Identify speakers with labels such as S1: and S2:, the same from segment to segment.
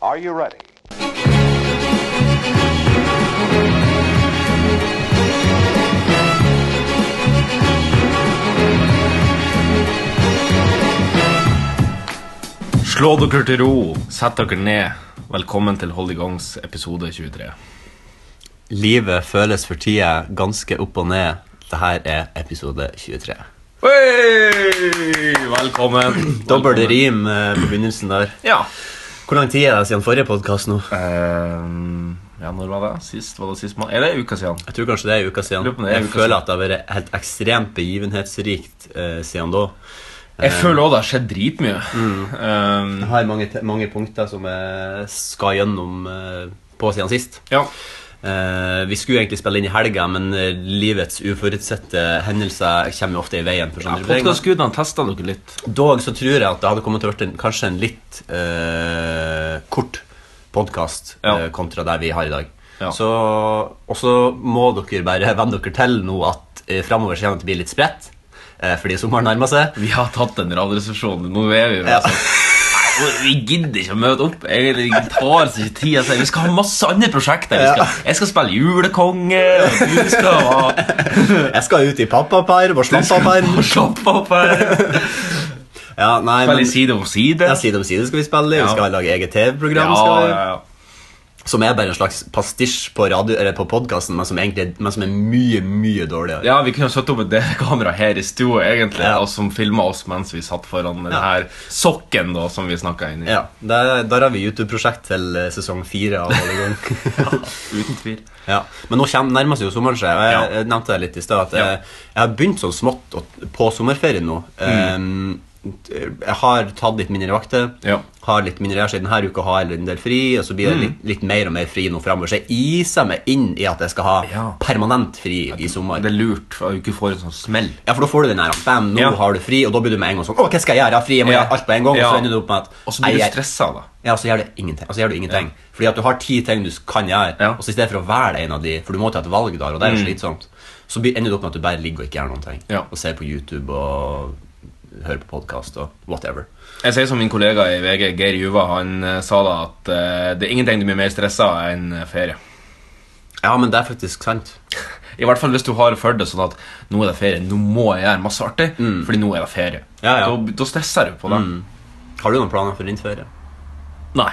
S1: Are you ready?
S2: Slå dere til ro, sett dere ned. Velkommen til Hold i gangs episode 23.
S3: Livet føles for tida ganske opp og ned. Dette er episode 23.
S2: Hei! Velkommen.
S3: Dobbel
S2: Velkommen.
S3: rim eh, på begynnelsen der.
S2: Ja.
S3: Hvor lang tid er det siden forrige podkast nå?
S2: Ehm, ja, når var det? Sist? Var det sist måned? Er det en uke siden?
S3: Jeg tror kanskje det er en uke siden.
S2: Lurer på om det er en
S3: Jeg
S2: uke
S3: føler
S2: siden.
S3: at det har vært helt ekstremt begivenhetsrikt eh, siden da.
S2: Jeg føler også det har skjedd dritmye. Ehm,
S3: Jeg har mange, te- mange punkter som jeg skal gjennom eh, på siden sist.
S2: ja.
S3: Eh, vi skulle egentlig spille inn i helga, men eh, livets uforutsette hendelser kommer jo ofte i veien. for
S2: ja
S3: sånne grupperinger.
S2: Podkastgudene testa dere litt.
S3: Dog så tror jeg at det hadde kommet til å vært en, kanskje en litt eh, kort podkast
S2: Ja.
S3: kontra det vi har i dag.
S2: Ja.
S3: Så, og så må dere bare venne dere til nå at uh, framover kommer det til å bli litt spredt. eh, fordi sommeren nærmer seg.
S2: Vi har tatt en radioresepsjon. Nå er vi
S3: Ja.
S2: altså. Nei, Vi gidder ikke å møte opp. Jeg jeg tar oss ikke tid til. Vi skal ha masse andre prosjekter. Vi skal, jeg skal spille julekonge, og du skal ha
S3: Jeg skal ut i pappaperm og slappaperm.
S2: Slapp opp her.
S3: Ja, nei, men
S2: Veldig side om side.
S3: ja, Side om side skal vi spille.
S2: Ja.
S3: Vi skal lage eget TV-program.
S2: Ja,
S3: skal vi-
S2: ja, ja.
S3: Som er bare en slags pastisj på, radio- eller på podkasten, men, som egentlig- men som er mye, mye dårligere.
S2: ja, vi kunne ha satt opp et DV-kamera her i stua egentlig,
S3: Ja.
S2: og som filma oss mens vi satt foran den her sokken da, som vi snakka inn i.
S3: Ja, der, der har vi YouTube-prosjekt til eh, sesong fire. av Volleygang.
S2: Uten tvil.
S3: ja. Men nå kommer, nærmer seg jo sommeren seg. og Jeg, jeg nevnte det litt i stad. at
S2: Ja.
S3: Jeg, jeg har begynt sånn smått å- på sommerferien nå.
S2: Mm.
S3: Um, jeg har tatt litt mindre vakter.
S2: Ja. Mm.
S3: Har litt mindre her siden denne uka, har jeg en del fri. Og så blir det litt, litt mer og mer fri nå framover. Så jeg iser meg inn i at jeg skal ha
S2: Ja.
S3: permanent fri i sommer.
S2: Det er lurt for at du ikke får en sånn smell.
S3: Ja, for da får du den her Bam, nå
S2: Ja.
S3: har du fri, og da blir du med en gang sånn Å, hva skal jeg gjøre? Jeg har fri, jeg må
S2: Ja.
S3: gjøre alt på en gang.
S2: Ja.
S3: Og så ender du opp med at
S2: Og så blir
S3: «Nei,
S2: du
S3: jeg-
S2: stressa, da.
S3: ja, så gjør det ingenting. Altså, gjør du ingenting. Fordi at du har ti ting du kan gjøre,
S2: Ja. Mm.
S3: og så i stedet for å velge en av de, for du må ta et valg der, og det er jo slitsomt, så blir- ender du opp med at du bare ligger og ikke gjør noen ting.
S2: Ja.
S3: Og ser på YouTube og hører på podkast og whatever.
S2: Jeg sier som min kollega i VG, Geir Juva, han eh, sa da at eh, det er ingenting du blir mer stressa enn eh, ferie.
S3: Ja, men det er faktisk sant.
S2: I hvert fall hvis du har følt det sånn at nå er det ferie, nå må jeg gjøre masse artig, fordi nå er det ferie.
S3: Mm. Ja, ja. Mm.
S2: Da, da stresser du på det.
S3: Har du noen planer for din ferie?
S2: Nei.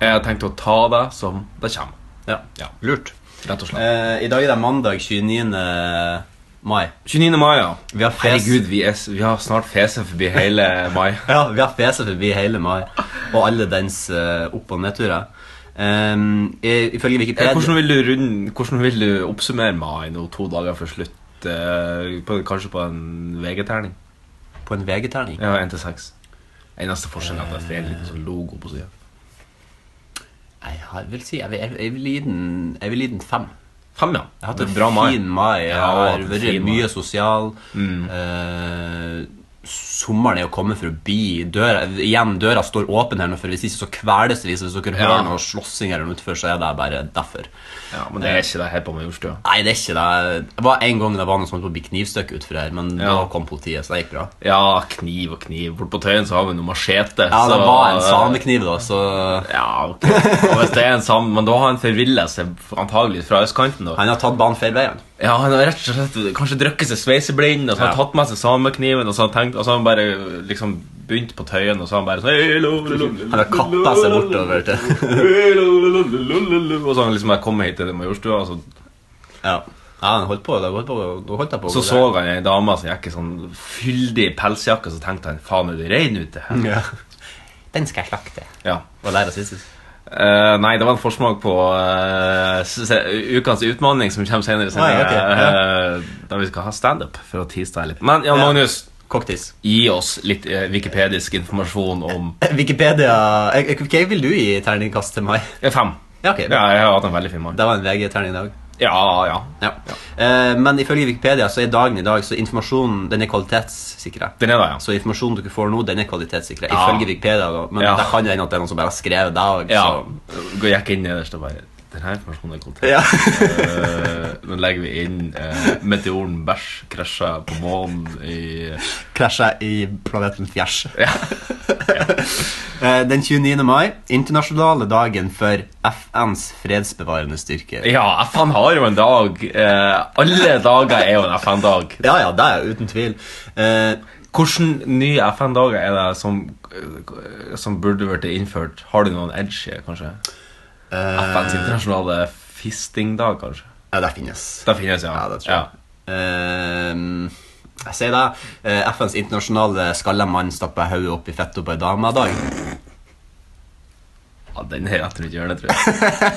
S2: Jeg har tenkt å ta det som det kommer.
S3: Ja.
S2: Ja.
S3: Lurt.
S2: Rett og slett.
S3: Eh, I dag er det mandag 29. mai.
S2: Eh, 29. mai, ja.
S3: Vi har fes.
S2: Herregud, vi, er, s- vi har snart fese forbi hele mai.
S3: Ja, vi har fese forbi hele mai, og alle dens eh, opp- og nedturer. Um, ifølge
S2: Eh,
S3: Wikipedia
S2: Hvordan vil du, runde, hvordan vil du oppsummere mai nå to dager før slutt? Eh, På, kanskje på en VG-terning?
S3: På en VG-terning?
S2: Ja, 1 til 6. Eneste forskjellen er at det er en liten sånn logo på sida.
S3: Nei, Jeg vil si, jeg vil, jeg vil gi den Jeg vil gi den fem.
S2: Fem, ja.
S3: Jeg har hatt
S2: Det er
S3: en
S2: bra mai.
S3: fin mai. Jeg
S2: Ja,
S3: har
S2: en
S3: vært
S2: fin mai.
S3: mye sosial. Mm. Eh, sommeren er jo kommet forbi. Døra, igjen, døra står åpen her nå, for hvis ikke så kveles vi. Så hvis dere
S2: Ja.
S3: hører noe slåssing her utenfor, så er det bare derfor.
S2: Ja, Men det er ikke det her på Majorstua.
S3: Nei, det er ikke det. Det var en gang det var noe sånt på å bli knivstukket utenfor her, men da
S2: Ja.
S3: kom politiet, så det gikk bra.
S2: Ja, kniv og kniv. Bort på Tøyen så har vi noe machete.
S3: Ja, det
S2: så-
S3: var en samekniv, da, så
S2: Ja, ok. Og hvis det er en sam... Men da har han forvilla seg antagelig fra østkanten. da
S3: Han har tatt banen feil vei. han.
S2: Ja, han har rett og slett kanskje drukket seg sveiseblind, og så har han
S3: Ja.
S2: tatt med seg samekniven, og så har han tenkt, og så har han bare liksom begynt på tøyen, og så har han bare sånn «Hei, lo, lo, lo, lo,
S3: Han har kappa seg bortover til
S2: «Hei, lo, lo, lo, lo, lo, lo», Og så har han liksom bare kommet hit til Majorstua, og så,
S3: Ja, ja han holdt på. Det holdt på, det holdt jeg på
S2: så så han ei dame som gikk i sånn fyldig pelsjakke, og så tenkte han faen, er du rein ute her?
S3: Ja. Den skal jeg slakte.
S2: Ja.
S3: Og lære å synes.
S2: Eh, nei, det var en forsmak på eh, s- s- ukas utfordring som kommer senere. i
S3: Nei, ok,
S2: sendingen, eh, Da vi skal ha standup, for å tease deg litt. Men Jan
S3: Ja.
S2: Magnus,
S3: Cocktails.
S2: gi oss litt eh, wikipedisk informasjon om
S3: Wikipedia eh, eh, Hva vil du gi terningkast til meg?
S2: eh, fem.
S3: Ja, ok.
S2: Ja, jeg har hatt en veldig fin mann.
S3: Det var en VG-terning i dag.
S2: Ja, ja.
S3: Ja. Eh, men ifølge Wikipedia så er dagen i dag så informasjonen den er kvalitetssikra.
S2: Den er der, ja.
S3: Så informasjonen dere får nå, den er kvalitetssikra.
S2: Ja.
S3: Ifølge Wikipedia, da. Men
S2: Ja.
S3: det kan jo hende at det er noen som bare har skrevet det. og
S2: ja.
S3: så-
S2: Gå- Gikk eh, inn nederst og bare Denne informasjonen er kontent.
S3: Ja.
S2: Eh, Nå legger vi inn eh, meteoren bæsj krasja på månen i
S3: Krasja i planeten Fjers.
S2: Ja.
S3: Eh, Den 29. mai, internasjonale dagen for FNs fredsbevarende styrker.
S2: Ja, FN har jo en dag. Eh, alle dager er jo en FN-dag.
S3: Ja, ja, det er jo uten tvil. Eh,
S2: Hvilke nye FN-dager er det som, eh, som burde vært innført? Har du noen edge, kanskje? Eh, FNs internasjonale fisting-dag, kanskje?
S3: Ja, det finnes.
S2: Det finnes, ja.
S3: Ja, det tror jeg. Eh, jeg sier det. eh, FNs internasjonale skalla mann stapper hodet opp i fettet på ei dame i dag.
S2: Ja. ja, den her jeg tror ikke gjør det, tror jeg.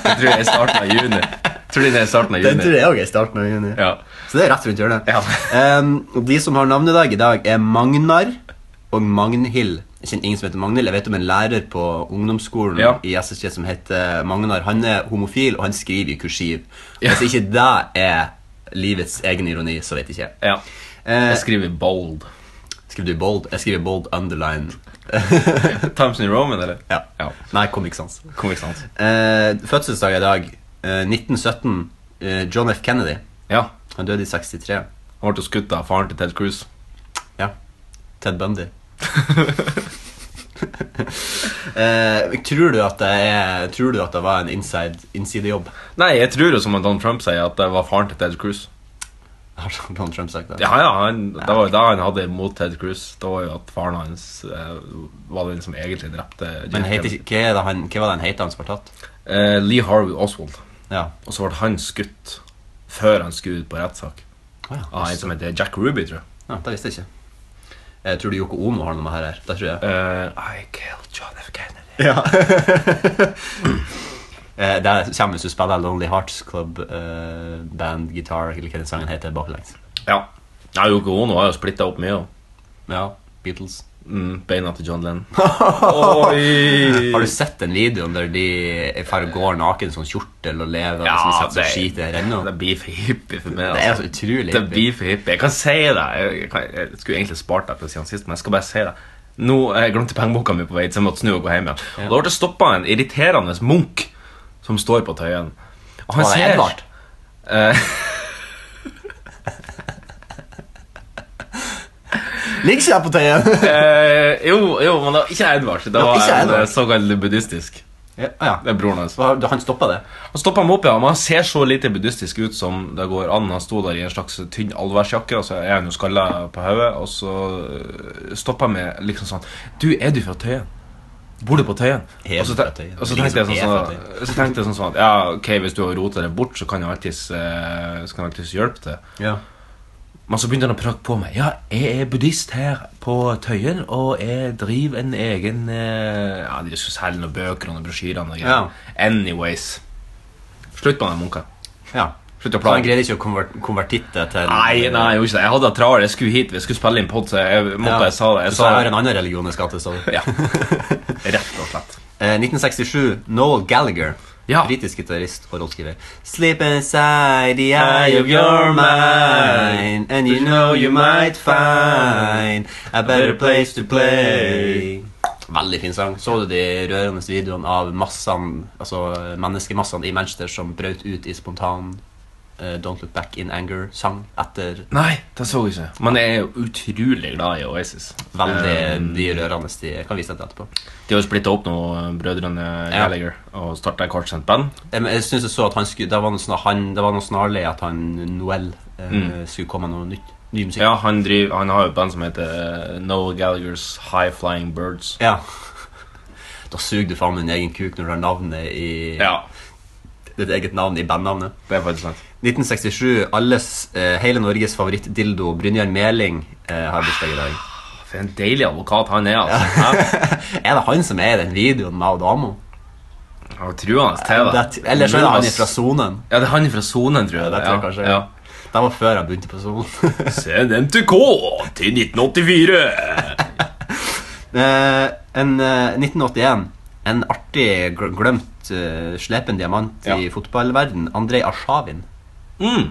S2: Jeg tror jeg er i starten av juni. Jeg tror den er i starten av juni.
S3: Den tror jeg òg er i starten av juni.
S2: Ja.
S3: Så det er rett rundt hjørnet.
S2: Ja.
S3: Em, og de som har navnedag i dag, er Magnar og Magnhild. Jeg kjenner ingen som heter Magnhild. Jeg vet om en lærer på ungdomsskolen
S2: Ja.
S3: i SSJ som heter Magnar. Han er homofil, og han skriver i kursiv.
S2: Ja.
S3: Hvis ikke det er livets egen ironi, så vet jeg ikke.
S2: ja.
S3: Eh,
S2: Jeg skriver bold.
S3: skriver du bold? Jeg skriver bold underline.
S2: Times New Roman, eller?
S3: Ja.
S2: Ja.
S3: Nei, Comic Sans.
S2: Kom, ikke sant?
S3: Eh, fødselsdag i dag. Eh, 1917. Eh, John F. Kennedy.
S2: Ja.
S3: Han døde i 63.
S2: Han ble skutt av faren til Ted Cruz.
S3: Ja. Ted Bundy. eh, tror, du at det er, tror du at det var en inside, insidejobb?
S2: Nei, jeg tror jo som at Donald Trump sier, at det var faren til Ted Cruz.
S3: Har Donald Trump sagt det?
S2: Ja, ja, han, det var jo det han hadde mot Ted Cruz. Det var jo at faren hans eh, var den som egentlig drepte
S3: Men
S2: John
S3: heter,
S2: Kennedy.
S3: ikke- hva, er det han, hva var det han het han som ble tatt?
S2: Eh, Lee Harvey Oswald.
S3: Ja.
S2: Og så ble han skutt før han skulle ut på rettssak.
S3: Å ja,
S2: Av en som heter Jack Ruby, Ah, tror jeg.
S3: ja, det visste jeg ikke. Eh, tror du Yoko Ono har noe med her? her? Det tror jeg.
S2: Eh, I killed John F. Kennedy.
S3: Ja. eh, der kommer hvis du spiller Lonely Hearts Club eh, Band Guitar, eller hva den sangen heter, baklengs.
S2: Ja. ja Yoko Ono har jo splitta opp mye. og-
S3: Ja, Beatles.
S2: Mm, beina til John Lennon. Oi!
S3: Har du sett den videoen der de far går naken sånn kjortel og lever
S2: Ja,
S3: og sånn, setter
S2: det-
S3: seg skit i det renner?
S2: Det blir for hippie for meg. altså.
S3: Det er så utrolig.
S2: Det blir for hippie. Jeg kan si det. Jeg, jeg, kan, jeg skulle egentlig spart deg for å si det sist, men jeg skal bare si det. Nå jeg glemte pengeboka mi på vei, så jeg måtte snu og gå hjem igjen. Og Da ble det stoppa en irriterende munk som står på Tøyen. Og
S3: Var det Edvard?
S2: Eh,
S3: Ligg ikke der på tøyet!
S2: eh, jo, jo, men det var ikke Edvard. Det var
S3: ikke
S2: en
S3: Edvard.
S2: eh, såkalt buddhistisk.
S3: ja, ah,
S2: Det
S3: ja.
S2: er broren hans.
S3: Så har- Han stoppa det?
S2: Han stoppa ham opp, ja, men han ser så lite buddhistisk ut som det går an. Han sto der i en slags tynn allværsjakke, og så er han jo skalla på hodet. Og så stoppa han med liksom sånn Du, er du fra Tøyen? Bor du på Tøyen?
S3: Er
S2: Og så,
S3: du
S2: te-
S3: fra Tøyen?
S2: og så
S3: Det er ingen
S2: tenkte jeg
S3: som
S2: sånn
S3: er fra
S2: sånn Så tenkte jeg sånn sånn at ja, ok, hvis du har rota det bort, så kan jeg alltids, eh, så kan jeg alltids hjelpe til.
S3: Ja.
S2: Men så begynte han å prakke på meg. Ja, jeg er buddhist her på Tøyen, og jeg driver en egen eh, Ja, de skulle selge noen bøker og noen brosjyrer og noe greier. Anyways. Slutt med den munka.
S3: ja.
S2: Slutt å
S3: Så han
S2: plage.
S3: greide ikke å konver konvertitte til
S2: Nei, nei, jeg gjorde ikke det. Jeg hadde det travelt. Jeg skulle hit, vi skulle spille inn pod, så jeg måtte
S3: Ja.
S2: jeg sa det. Jeg
S3: Så
S2: sa
S3: jeg har en annen religion jeg skal til, sa du.
S2: Ja. Rett og slett.
S3: Eh, 1967. Noel Gallagher.
S2: Ja.
S3: Britisk gitarist og rollskriver. Sleep inside the eye of your mind, and you know you might find a better place to play. Veldig fin sang. Så du de rørende videoene av massene, altså menneskemassene i Manchester som brøt ut i spontan eh, Don't Look Back in Anger-sang etter
S2: Nei, det så jeg ikke. Men jeg er jo utrolig glad i Oasis.
S3: veldig
S2: Um,
S3: mye rørende de Jeg kan vise deg det etterpå.
S2: De har jo splitta opp nå, brødrene
S3: Ja.
S2: Gallagher, og starta et kortsendt band.
S3: Jeg, jeg synes jeg så at han skulle, det var noe, sånn- han, det var noe snarlig at han, Noel eh, skulle komme med noe nytt. Ny
S2: Mm.
S3: musikk.
S2: Ja, han, driver, han har jo et band som heter eh, Noel Gallaghers High Flying Birds.
S3: Ja. Da suger du faen min egen kuk når du har navnet i,
S2: Ja,
S3: ditt eget navn i bandnavnet.
S2: det er faktisk sant.
S3: 1967. Alles, eh, hele Norges favorittdildo, Brynjar Meling, eh, har bursdag i dag.
S2: For en deilig advokat han er, altså.
S3: Er det han som er i den videoen med hun dama?
S2: Ja, Han var truende til det.
S3: Det- Eller så er det han fra sonen.
S2: Ja, det er han fra sonen, tror jeg.
S3: Ja, det tror jeg kanskje.
S2: Ja.
S3: Det var før han begynte på sonen.
S2: Send NTK til 1984!
S3: Eh, en, eh, 1981 En artig gl- glemt eh, slepen diamant i
S2: Ja.
S3: fotballverden Andrej Arshavin
S2: Mm.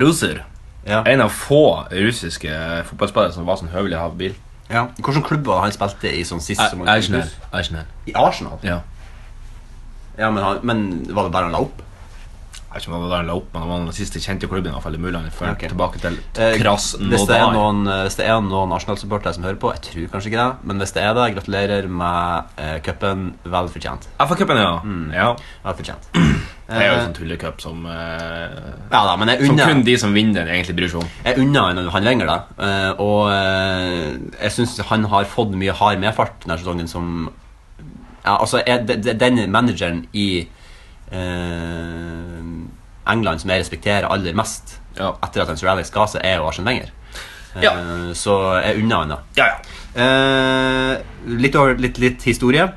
S2: Ruser.
S3: ja.
S2: En av få russiske fotballspillere som var sånn høvelig habil.
S3: ja.
S2: Eh,
S3: Hvilken klubb var det han spilte i sånn sist? som han-
S2: Arsenal. Arsenal.
S3: I Arsenal?
S2: Ja.
S3: Ja, men, han, men var det bare han la opp?
S2: Jeg vet ikke om det var da han la opp, men han var den siste kjente klubben. i hvert fall i Mulan, før
S3: Ok.
S2: tilbake til
S3: Eh,
S2: krass
S3: Hvis det er
S2: nådar.
S3: noen, eh, hvis det er noen Arsenal-supportere som hører på, jeg tror kanskje ikke det, men hvis det er det, gratulerer med eh, cupen. Vel fortjent.
S2: FA-cupen, ja.
S3: Mm.
S2: ja.
S3: Vel fortjent.
S2: Det er jo
S3: Eh,
S2: en sånn tullecup som eh,
S3: ja da, men jeg
S2: Som
S3: unner
S2: kun de som vinner den, egentlig bryr seg om.
S3: Jeg unner han han lenger, da. Eh, og eh, jeg syns han har fått mye hard medfart denne sesongen som ja, Altså, er de- de- den manageren i eh, England som jeg respekterer aller mest
S2: Ja.
S3: etter at han Sir Alex ga seg, er jo Arsen Wenger. Eh,
S2: Ja.
S3: Så jeg unner han det.
S2: Ja, ja.
S3: Eh, litt, over, litt, litt historie.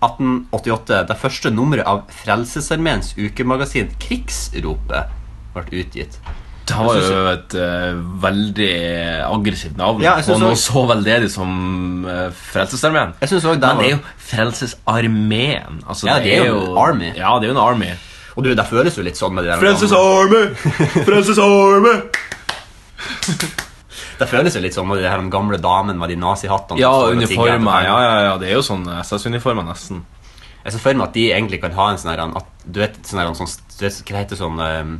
S3: 1888. Det første nummeret av Frelsesarmeens ukemagasin Krigsropet ble utgitt.
S2: Det var
S3: Jeg synes-
S2: jo et eh, veldig aggressivt navn.
S3: Ja, jeg
S2: og
S3: synes
S2: noe
S3: også-
S2: så veldedig som uh, Frelsesarmeen.
S3: Jeg synes også det
S2: Men det er
S3: var-
S2: jo Frelsesarmeen. Altså,
S3: Ja, det er jo en army.
S2: Ja, det er jo en army.
S3: Og du, det føles jo litt sånn med det der
S2: Frelsesarmé! Frelsesarmé!
S3: Det føles jo litt sånn med de her gamle damene med de nazihattene. som
S2: Ja,
S3: står og tigger etter
S2: uniformer.
S3: hverandre.
S2: Ja, ja, ja, det er jo sånn SS-uniformer, nesten.
S3: Jeg ser for meg at de egentlig kan ha en sånn her at, Du vet, sånn her, en sånn, du vet hva det heter sånn ehm,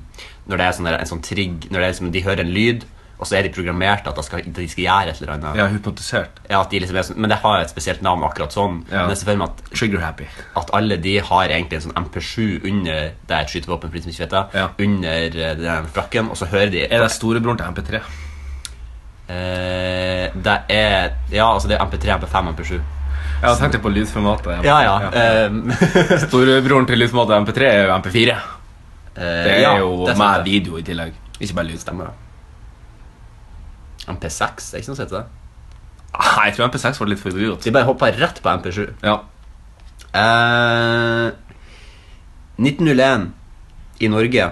S3: Når det er sånn her, en sånn trigg Når det er, liksom, de hører en lyd, og så er de programmert at de skal, de skal gjøre et eller annet.
S2: Ja, hypnotisert.
S3: Ja, at de liksom er sånn, men det har et spesielt navn, akkurat sånn.
S2: Ja.
S3: Men jeg ser for meg at,
S2: Trigger-happy.
S3: at alle de har egentlig en sånn MP7 under det er et skytevåpen, for de som ikke vet det,
S2: Ja.
S3: under eh, den frakken, og så hører de
S2: Er det storebroren til MP3?
S3: Eh, Det er Ja, altså det er MP3, MP5, MP7.
S2: Jeg tenkte på lydformatet.
S3: Ja, ja. ehm,
S2: Storebroren til lydformatet MP3 er jo MP4. Det er
S3: eh, ja,
S2: jo
S3: det er sant,
S2: med
S3: det.
S2: video i tillegg. Ikke bare lydstemme.
S3: Stemmer det. MP6 det er ikke noe som heter det.
S2: Nei, Ah, jeg tror MP6 var litt for idiot.
S3: De bare hoppa rett på MP7.
S2: Ja.
S3: Eh, 1901 i Norge.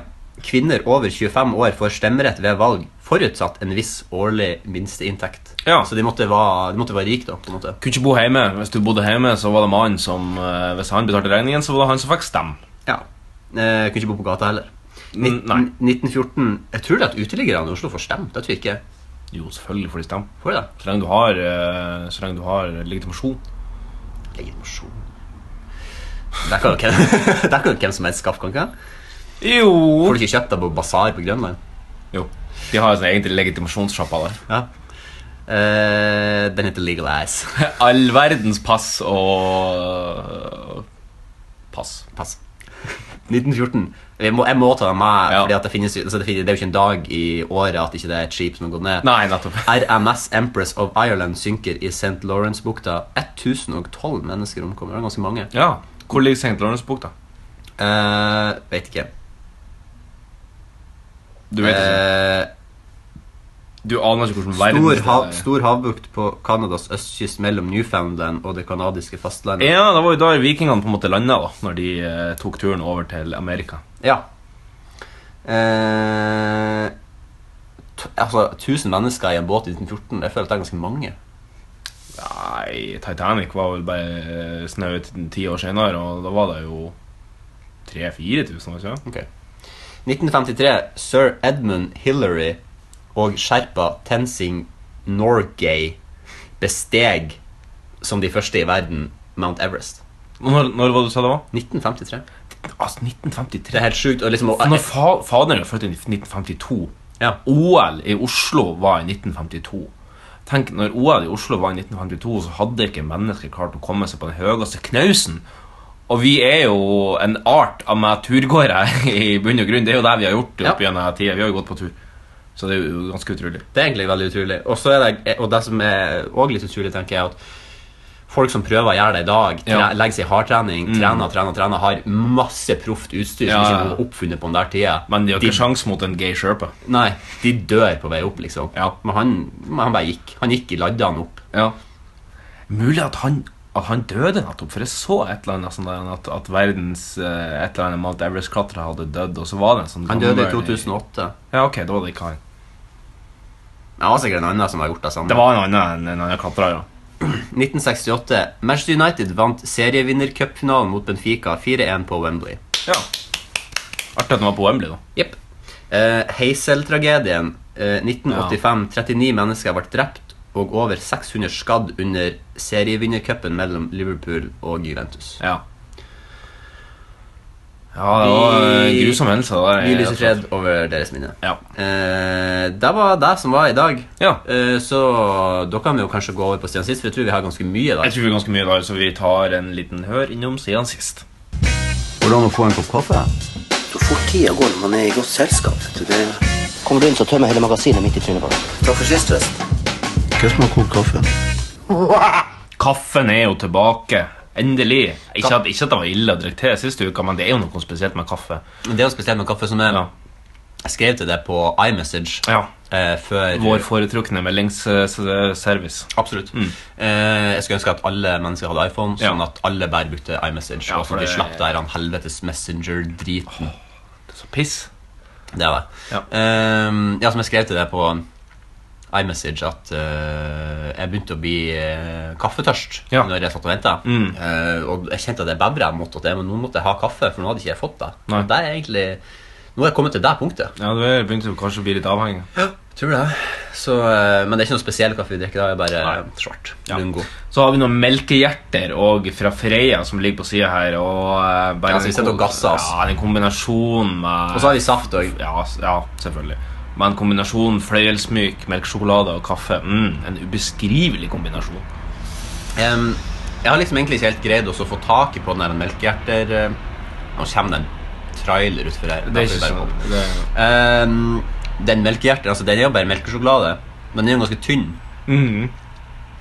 S3: Kvinner over 25 år får stemmerett ved valg, forutsatt en viss årlig minsteinntekt.
S2: Ja.
S3: Så de måtte være, de måtte være rike, da. på en måte.
S2: Kunne ikke bo hjemme. Hvis du bodde hjemme, så var det mannen som eh, Hvis han betalte regningen, så var det han som fikk stemme.
S3: Ja. Eh, kunne ikke bo på gata heller.
S2: Mm, nei.
S3: 1914 Jeg tror det at uteliggerne i Oslo får stemt. Jeg tror ikke
S2: Jo, selvfølgelig får de stemme.
S3: Får de det?
S2: Så lenge du har, eh, så lenge du har legitimasjon.
S3: Legitimasjon Der kan jo hvem- der kan jo hvem som helst skaffe, kan ikke det? Får
S2: Jo.
S3: du ikke kjøpt deg på basar på Grønland?
S2: jo. De har en egen legitimasjonssjappa der.
S3: Ja. Eh, den heter Legal Ass.
S2: All verdens pass og Pass.
S3: Pass. 1914. Jeg må, jeg må ta den med,
S2: Ja.
S3: fordi at det, finnes, jo- altså det, finnes, det er jo ikke en dag i året at ikke det er et skip som har gått ned.
S2: Nei, nettopp.
S3: RMS Empress of Ireland synker i St. Lawrence-bukta. 1012 mennesker omkommer. Det er ganske mange.
S2: Ja. Hvor ligger St. Lawrence-bukta?
S3: Eh, vet ikke.
S2: Du vet ikke.
S3: Eh,
S2: Du aner ikke hvordan verden
S3: Stor, hav, stor havbukt på Kanadas østkyst mellom Newfoundland og det kanadiske fastlandet.
S2: Ja, det var jo da vikingene på en måte landa, da, når de eh, tok turen over til Amerika.
S3: Ja. Eh, t altså, 1000 mennesker i en båt i 1914, jeg føler at det er ganske mange.
S2: Nei, Titanic var vel bare eh, snaut ti år senere, og da var det jo 3000-4000, var det ikke? det?
S3: Ok. 1953. Sir Edmund Hillary og sherpa Tenzing Norgay besteg som de første i verden Mount Everest.
S2: Når, når var det du sa det var?
S3: 1953.
S2: Altså,
S3: Det
S2: 1953.
S3: er helt sjukt. Og liksom,
S2: For når fa faderen er født i 1952
S3: ja.
S2: OL i Oslo var i 1952. Tenk, når OL i Oslo var i 1952, så hadde ikke mennesker klart å komme seg på den høyeste knausen. Og vi er jo en art av meg turgåere i bunn og grunn. Det er jo det vi har gjort opp
S3: Ja.
S2: gjennom denne tida. Vi har jo gått på tur. Så det er jo ganske utrolig.
S3: Det er egentlig veldig utrolig. Og, så er det, og det som er også litt utrolig, tenker jeg, at folk som prøver å gjøre det i dag, tre,
S2: Ja. Mm.
S3: legger seg i hardtrening, trener, trener, trener, har masse proft utstyr
S2: Ja,
S3: som
S2: ja.
S3: ikke er oppfunnet på den der tida.
S2: Men de har ikke
S3: De-
S2: sjans mot en gay sherpa.
S3: Nei, de dør på vei opp, liksom.
S2: Ja.
S3: Men, han, men han bare gikk. Han gikk i laddene opp.
S2: Ja. Mulig at han, at han døde nettopp, for jeg så et eller annet sånn der, at, at verdens eh, et eller annet Mount Everest-klatra hadde dødd, og så var det en sånn
S3: Han døde i
S2: gammel-
S3: 2008.
S2: Ja, ok, da var det ikke han.
S3: Det var sikkert en annen som har gjort det samme.
S2: Det var en annen enn en annen klatrer, ja.
S3: 1968. Manchester United vant serievinnercupfinalen mot Benfica 4-1 på Wembley.
S2: ja. Artig at han var på Wembley, da.
S3: Jepp. Eh, Heisel-tragedien. Eh, 1985. 39 mennesker ble drept og over 600 skadd under serievinnercupen mellom Liverpool og Juventus.
S2: Ja. Ja, det var eh,
S3: Vi-
S2: grusomme hendelser. det er-
S3: Vi lyser fred over deres minne.
S2: Ja.
S3: Eh, det var det som var i dag.
S2: ja.
S3: Eh, så da kan vi jo kanskje gå over på siden sist, for jeg tror vi har ganske mye i
S2: Jeg
S3: dag.
S2: tror vi er ganske mye der, så vi tar en liten hør innom siden sist.
S3: Går det an å få en kopp kaffe?
S1: Så fort tida går når man er i godt selskap. vet du, Det
S4: Kommer du inn, så tømmer jeg hele magasinet mitt i trynet på deg.
S1: Takk for sist, forresten.
S5: Hva som har kokt kaffe?
S2: Kaffen er jo tilbake. Endelig. Ikke at, ikke at det var ille å drikke te sist uke, men det er jo noe spesielt med kaffe.
S3: Men Det er jo spesielt med kaffe som er
S2: Ja.
S3: Jeg skrev til deg på iMessage
S2: Ja.
S3: eh, før
S2: Vår foretrukne meldingsservice.
S3: Absolutt. Eh, jeg skulle ønske at alle mennesker hadde iPhone, sånn
S2: Mm. Ja.
S3: at alle bare brukte iMessage.
S2: Ja,
S3: og
S2: for
S3: sånn at de
S2: det-
S3: slapp det her han helvetes Messenger-driten.
S2: Så piss.
S3: Det er det.
S2: Ja.
S3: Eh, ja, som jeg skrev til deg på iMessage, at eh, jeg begynte å bli eh, kaffetørst
S2: Ja.
S3: når jeg satt og venta.
S2: Mm.
S3: Eh, og jeg kjente at det bevra mot at jeg, men nå måtte jeg ha kaffe, for nå hadde ikke jeg fått det.
S2: Nei.
S3: Og Det er egentlig... Nå har jeg kommet til det punktet.
S2: Ja, du er- begynte jo kanskje å bli litt avhengig.
S3: Tror det. Så, eh, men det er ikke noe spesiell kaffe vi drikker. da, Det er bare
S2: Nei.
S3: svart.
S2: Ja.
S3: Lungo.
S2: Så har vi noen melkehjerter og fra Freia som ligger på sida her. Og eh, bare
S3: Ja, så vi
S2: en
S3: sitter og
S2: kom-
S3: gasser, ass.
S2: Ja, en kombinasjon med
S3: Og så har vi saft òg.
S2: ja, s- ja, selvfølgelig. Med en kombinasjon fløyelsmyk, melkesjokolade og kaffe. Mm, en ubeskrivelig kombinasjon.
S3: jeg har liksom egentlig ikke helt greid også å få tak i på den der melkehjerter eh, Nå kommer det en trailer utfor her.
S2: Det er
S3: Da
S2: ikke
S3: får vi
S2: sånn
S3: bare gå.
S2: det,
S3: Ehm, Den melkehjerter, altså den er jo bare melkesjokolade. Men den er jo ganske tynn.
S2: mm,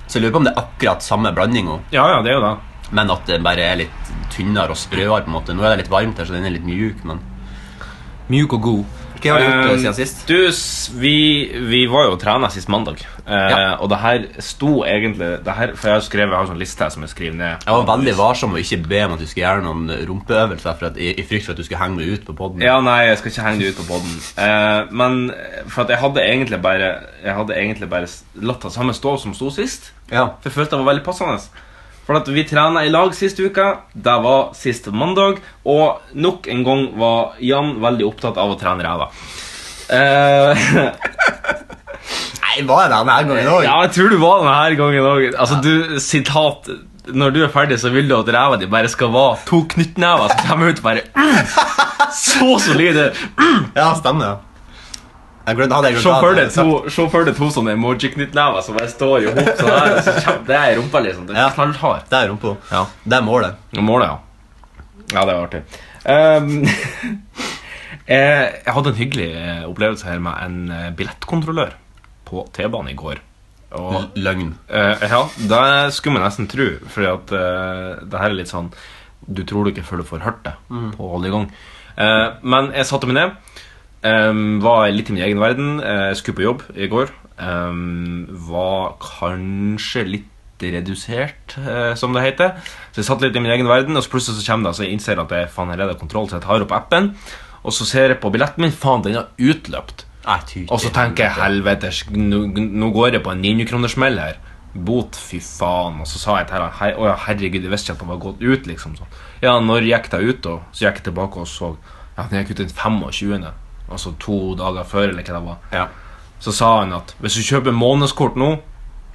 S3: Så jeg lurer på om det er akkurat samme blandinga,
S2: Ja, ja, det er jo det.
S3: men at det bare er litt tynnere og sprøere. på en måte Nå er det litt varmt her, så den er litt mjuk, men
S2: Mjuk og god.
S3: Hva har du gjort eh,
S2: Eh,
S3: siden sist?
S2: Du, s- vi, vi var jo og trena sist mandag. Eh,
S3: Ja.
S2: Og det her sto egentlig det her, For jeg har skrevet, jeg har sånn liste her som jeg skriver ned.
S3: Jeg var veldig varsom med å ikke be om at du skulle gjøre noen rumpeøvelser for at, i, i frykt for at du skulle henge meg ut på poden.
S2: Ja, nei, jeg skal ikke henge det ut på podden. Eh, men for at jeg hadde egentlig bare Jeg hadde egentlig bare s- latt det samme stå som sto sist. For jeg følte det var veldig passende. For at vi trena i lag sist uke. Det var sist mandag. Og nok en gang var Jan veldig opptatt av å trene ræva. Eh,
S3: Nei, var jeg der denne gangen òg?
S2: ja, jeg tror du var denne gangen òg. Altså, du, sitat Når du er ferdig, så vil du at ræva di bare skal være to knyttnever som kommer ut bare mm, Så solide!
S3: Ja, stemmer. ja. Jeg glemte, hadde jeg
S2: Se
S3: glemt
S2: for
S3: at jeg
S2: deg to, se for deg to sånne emoji-knyttnever som bare står i hop sånn her. og så kommer- Det er rumpa, liksom. Det
S3: Ja.
S2: er knallhard.
S3: Det er rumpa.
S2: Ja.
S3: Det er målet.
S2: Målet, ja. Ja, det var artig. Ehm, eh, jeg hadde en hyggelig eh, opplevelse her med en eh, billettkontrollør på T-banen i går. Og
S3: L- Løgn.
S2: Eh, ja, det skulle man nesten tro, fordi at eh, det her er litt sånn Du tror du ikke før du får hørt det på alle gang. Eh, men jeg satte meg ned, em, var litt i min egen verden, eh, skulle på jobb i går. em, var kanskje litt redusert, eh, som det heter. Så jeg satt litt i min egen verden, og så plutselig så kommer det, så jeg innser at jeg faen her er det kontroll, så jeg tar opp appen, og så ser jeg på billetten min, faen, den har utløpt.
S3: Nei, ty-
S2: Og så tenker jeg helvetes, nå, nå går jeg på en 900-kronersmell her. Bot, fy faen. Og så sa jeg til han her, å ja, herregud, jeg visste ikke at den var gått ut, liksom. sånn. Ja, når gikk det ut, da? Så gikk jeg tilbake og så. Ja, den gikk ut den 25. Altså to dager før, eller hva det var.
S3: Ja.
S2: Så sa han at hvis du kjøper månedskort nå,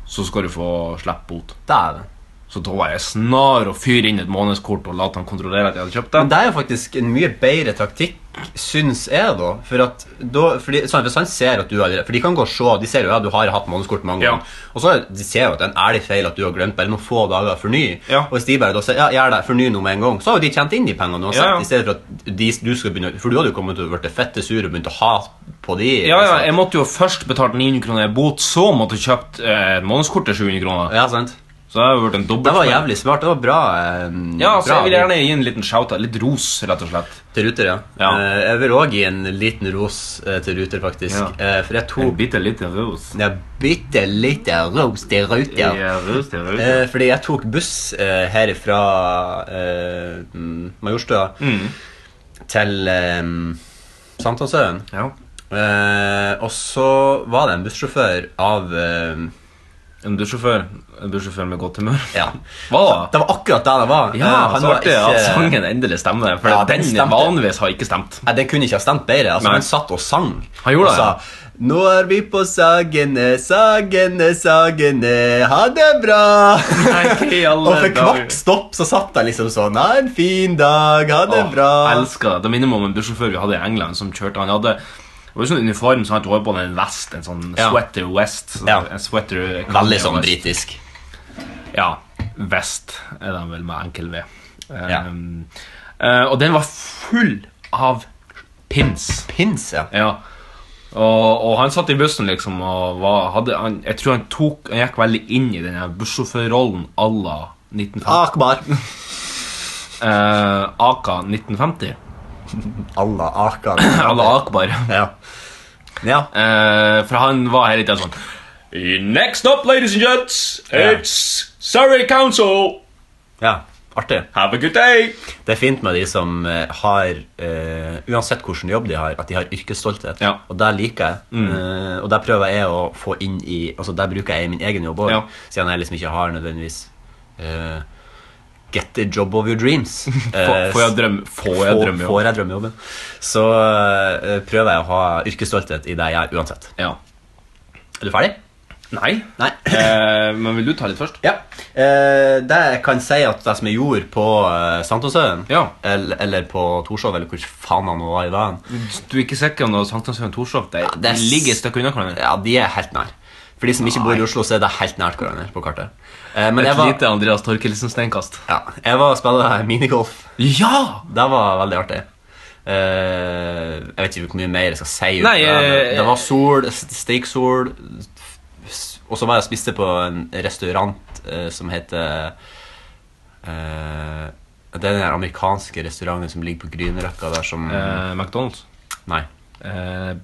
S2: så skal du få slippe bot.
S3: Det er det.
S2: Så da var jeg snar og fyre inn et månedskort og la han kontrollere at jeg hadde kjøpt det.
S3: Men det er jo faktisk en mye bedre taktikk, syns jeg, da. For at da, fordi, sånn, hvis han ser at du har For de kan gå og se, de ser jo at du har hatt månedskort mange
S2: Ja.
S3: ganger. Og så de ser jo at det er en ærlig feil at du har glemt bare noen få dager for ny.
S2: Ja.
S3: Og hvis de bare da sier ja, gjør det, forny nå med en gang, så har jo de tjent inn de pengene uansett.
S2: Ja, ja.
S3: I stedet for at de, du skal begynne For du hadde jo kommet til å blitt fette sur og begynt å hate på de.
S2: Ja, ja,
S3: liksom.
S2: jeg måtte jo først betalt 900 kroner i bot, så måtte jeg kjøpt eh, et månedskort til 700 kroner.
S3: ja, sant.
S2: Så det har jo vært en
S3: Det var
S2: dobbeltsmell.
S3: jævlig smart. Det var bra. Eh,
S2: Ja, så
S3: bra
S2: jeg vil gjerne gi en liten shout-out. Litt ros, rett og slett.
S3: Til Ruter, ja.
S2: Ja.
S3: Eh, jeg vil òg gi en liten ros eh, til Ruter, faktisk.
S2: Ja.
S3: Eh, for jeg tok
S2: bitte liten ros.
S3: Ja, bitte lite ros til Ruter.
S2: ros til
S3: Eh, fordi jeg tok buss eh, herifra eh, mm, Majorstua til eh, Sankthanshaugen.
S2: Ja.
S3: Eh, og så var det en bussjåfør av eh,
S2: En bussjåfør. En bussjåfør med godt humør.
S3: Ja.
S2: Hva da?
S3: Det var akkurat det det var.
S2: Ja,
S3: Eh, han
S2: så
S3: var
S2: artig
S3: ikke-
S2: at sangen endelig stemmer. For
S3: Ja, den
S2: den
S3: stemte.
S2: vanligvis har ikke stemt.
S3: Nei, Den kunne ikke ha stemt bedre. altså
S2: Nei.
S3: Han satt og sang.
S2: Han gjorde
S3: og
S2: det,
S3: sa,
S2: ja.
S3: Nå er vi på Sagene, Sagene, Sagene. Ha det bra!
S2: Nei, hva i alle
S3: Og for
S2: dager?
S3: kvart stopp så satt jeg liksom sånn Ha en fin dag, ha det
S2: Åh,
S3: bra.
S2: Elsker det. Det minner meg om en bussjåfør vi hadde i England som kjørte. Han hadde det var jo sånn uniform, så han hadde på en vest, en sånn
S3: Ja.
S2: sweater west. sånn-
S3: Ja.
S2: En sweater
S3: Veldig sånn
S2: West.
S3: britisk.
S2: Ja. Vest er den vel med enkel V. Eh,
S3: Ja.
S2: eh, og den var full av pins.
S3: Pins, ja.
S2: Ja. Og, og han satt i bussen, liksom, og var, hadde, han, jeg tror han, tok, han gikk veldig inn i den her bussjåførrollen à la 1950.
S3: Akbar.
S2: Eh, Aka 1950.
S3: Allah Akbar.
S2: Alla Akbar.
S3: Ja. ja.
S2: Eh, for han var hele tiden sånn Next up, ladies and gents, it's Surrey Council.
S3: Ja. Artig.
S2: Have a good day.
S3: Det er fint med de som eh, har eh, Uansett hvilken jobb de har, at de har yrkesstolthet.
S2: Ja. Mm.
S3: Og der liker jeg. eh, og der prøver jeg å få inn i Altså der bruker jeg i min egen jobb òg,
S2: Ja.
S3: siden jeg liksom ikke har nødvendigvis eh, Get the job of your dreams. Eh,
S2: Få- Får jeg drømme? Får jeg
S3: Få-
S2: drømme? ja.
S3: får jeg drømmejobben? Så eh, prøver jeg å ha yrkesstolthet i det jeg gjør, uansett.
S2: Ja.
S3: Er du ferdig?
S2: Nei.
S3: Nei.
S2: Eh, men vil du ta litt først?
S3: Ja. Eh, det jeg kan si at det som jeg gjorde på eh, Sankthanshaugen,
S2: Ja.
S3: eller, eller på Torshov, eller hvor faen han nå var i veien
S2: Du er ikke sikker om det var Sankthanshaugen Torshov? Det,
S3: Ja, det er
S2: de ligger
S3: s-
S2: et stykke unna hverandre.
S3: Ja, de er helt nær. For de som ikke bor i Oslo, så er det helt nært hverandre på kartet. Eh, men jeg
S2: Et
S3: var,
S2: lite Andreas Torkelsen-steinkast.
S3: ja, jeg var og spilte minigolf.
S2: Ja!
S3: Det var veldig artig. Eh, jeg vet ikke hvor mye mer jeg skal si. ut
S2: Nei,
S3: av det, men
S2: eh,
S3: det var sol, st- steiksol, s- og så var jeg og spiste på en restaurant eh, som heter eh, Det er den der amerikanske restauranten som ligger på Grünerløkka der som
S2: Eh, McDonald's.
S3: Nei.
S2: Eh,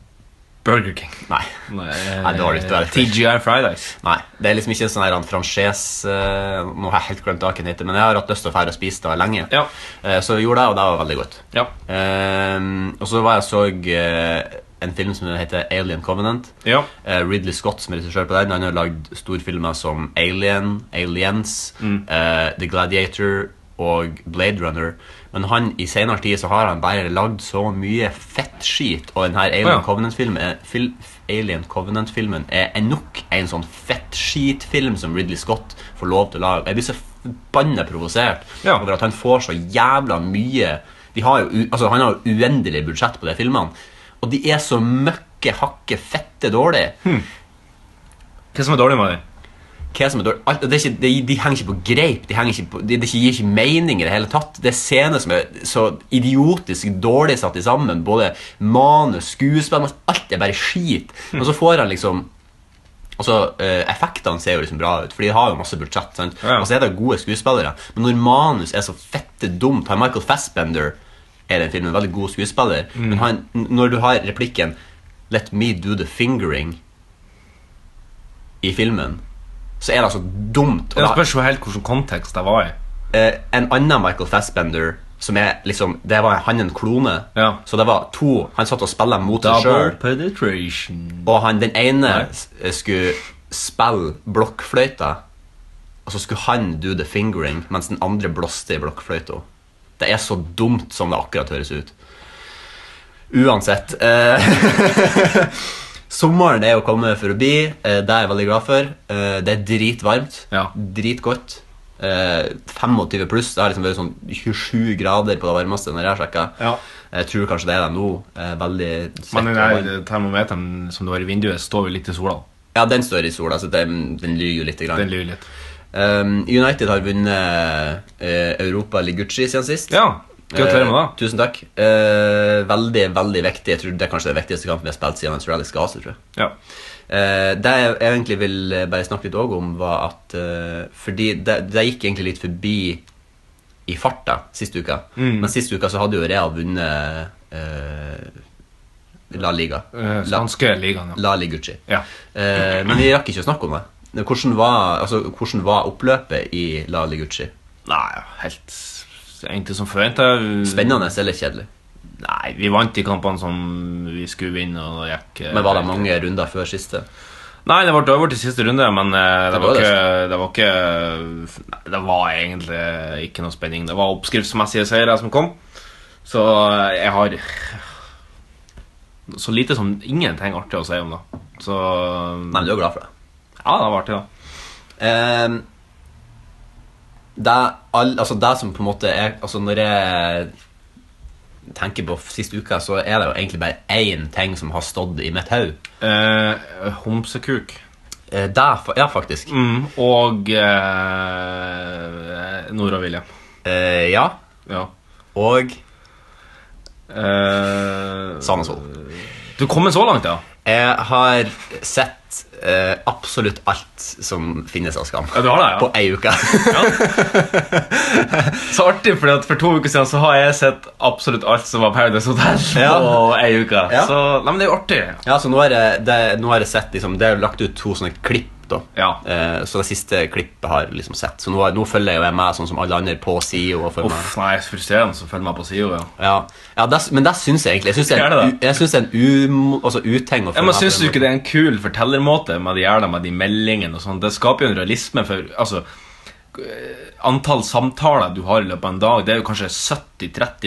S2: Burger King.
S3: Nei.
S2: Nei, eh,
S3: Nei, dårlig, dårlig.
S2: TGI Fridays.
S3: Nei, det er liksom ikke en sånn her franchise eh, Nå har jeg helt glemt hva den heter, men jeg har hatt lyst til å dra og spise det lenge.
S2: Ja.
S3: Eh, så jeg gjorde det, og det var veldig godt.
S2: Ja.
S3: Eh, og så var jeg og så eh, en film som heter Alien Covenant.
S2: Ja.
S3: Eh, Ridley Scott som er regissør på den. Han har lagd storfilmer som Alien, Aliens,
S2: Mm.
S3: eh, The Gladiator og Blade Runner. Men han, i senere tid så har han bare lagd så mye fettskit, og denne Alien
S2: Ja.
S3: Covenant-filmen er, fil, Alien Covenant-filmen er en- nok en sånn fettskitfilm som Ridley Scott får lov til å lage. Jeg blir så forbanna provosert
S2: Ja.
S3: over at han får så jævla mye de har jo, u- altså, Han har jo uendelig budsjett på de filmene, og de er så møkke hakke fette dårlige.
S2: Hva som er dårlig med det?
S3: Hva som er dårlig alt, det er ikke, de, de henger ikke på greip. De henger ikke på, de, de gir ikke mening i det hele tatt. Det er scener som er så idiotisk dårlig satt i sammen. Både manus, skuespill Alt er bare skit. Og så får han liksom Altså, eh, Effektene ser jo liksom bra ut, for de har jo masse budsjett. sant?
S2: Ja.
S3: Og så er det gode skuespillere. Men når manus er så fette dumt Har Michael Fassbender er den filmen en veldig god skuespiller. Men han, n- når du har replikken 'Let me do the fingering' i filmen, så er det altså dumt. Og
S2: Det
S3: da-
S2: spørs jo helt hvilken kontekst det var i.
S3: eh, en annen Michael Fassbender som er liksom, det var han en klone
S2: Ja.
S3: Så det var to Han satt og spilte mot seg
S2: Double
S3: sjøl
S2: penetration.
S3: Og han, den ene
S2: Nei.
S3: s- eh, skulle spille blokkfløyta Og så skulle han do the fingering Mens den andre blåste i blokkfløyta Det er så dumt som det akkurat høres ut Uansett eh, Sommeren er å komme forbi eh, Det er jeg veldig glad for eh, Det er dritvarmt
S2: Ja.
S3: Dritgodt eh, 25 pluss Det har liksom vært sånn 27 grader på det varmeste Når jeg har sjekket
S2: Ja.
S3: Jeg tror kanskje det er det nå eh, Veldig svett
S2: Men den
S3: og varmt.
S2: der termometeren som du har i vinduet, står jo litt i sola.
S3: Ja, den står i sola, så den, den lyver jo litt. Grann.
S2: Den lyver litt.
S3: Um, United har vunnet uh, Europa Ligucci siden sist.
S2: Ja, gratulerer med
S3: Eh,
S2: det.
S3: tusen takk. Eh, veldig, veldig viktig. Jeg tror Det er kanskje den viktigste kampen vi har spilt siden Rally Skase. tror jeg.
S2: Ja.
S3: Eh, det jeg egentlig vil eh, bare snakke litt også om, var at eh, Fordi det, det gikk egentlig litt forbi i farta sist uka.
S2: Mm.
S3: Men sist uka så hadde jo Real vunnet eh, La Liga.
S2: Eh,
S3: La-
S2: Spanske ligaen, ja.
S3: La Ligucci.
S2: Ja.
S3: Eh, men vi rakk ikke å snakke om det. Hvordan var, altså, hvordan var oppløpet i La Ligucci?
S2: Nei, helt s- egentlig som forventa.
S3: Spennende eller kjedelig?
S2: Nei, vi vant de kampene som vi skulle vinne, og det gikk eh,
S3: Men var det mange runder før siste?
S2: Nei, det ble over til siste runde, men eh, det,
S3: Det var
S2: var
S3: det,
S2: ikke, det var ikke Nei, det var egentlig ikke noe spenning. Det var oppskriftsmessige seire som kom, så eh, jeg har Så lite som ingenting artig å si om det. Så
S3: Nei, men du er glad for det.
S2: Ja, det var artig, da.
S3: Ehm, det, er all, altså det som på en måte er altså Når jeg tenker på sist uke, så er det jo egentlig bare én ting som har stått i mitt hode.
S2: Eh, homsekuk.
S3: Eh, det er fa- Ja, faktisk.
S2: Mm, og eh, Nora William.
S3: Eh, ja.
S2: Ja.
S3: Og
S2: Eh,
S3: Sandnesvold.
S2: Du kommer så langt, ja?
S3: Jeg har sett eh, absolutt alt som finnes av Skam.
S2: Ja, du har det, ja.
S3: På ei uke.
S2: Så artig, fordi at for to uker siden så har jeg sett absolutt alt som var Paradise Hotel
S3: Ja.
S2: på ei uke.
S3: Ja.
S2: Så, nei, men det er jo artig.
S3: ja, så nå har jeg, det, nå har jeg sett liksom, Det er lagt ut to sånne klipp, da.
S2: Ja.
S3: Eh, så det siste klippet har jeg liksom sett. Så nå, nå følger jeg jo jeg med sånn som alle andre på sida. og følger med.
S2: Uff, nei, så frustrerende å følge meg på sida. Ja.
S3: Ja, ja det, Men det syns jeg egentlig. Jeg syns det er
S2: Er det
S3: en,
S2: det?
S3: u- jeg syns det er en um, altså, uting. å
S2: Ja,
S3: følge
S2: men
S3: med på
S2: Syns
S3: den
S2: du ikke det er en kul fortellermåte med de gjerne med de meldingene og sånn? Det skaper jo en realisme for altså, eh, Antall samtaler du har i løpet av en dag, det er jo kanskje 70-30.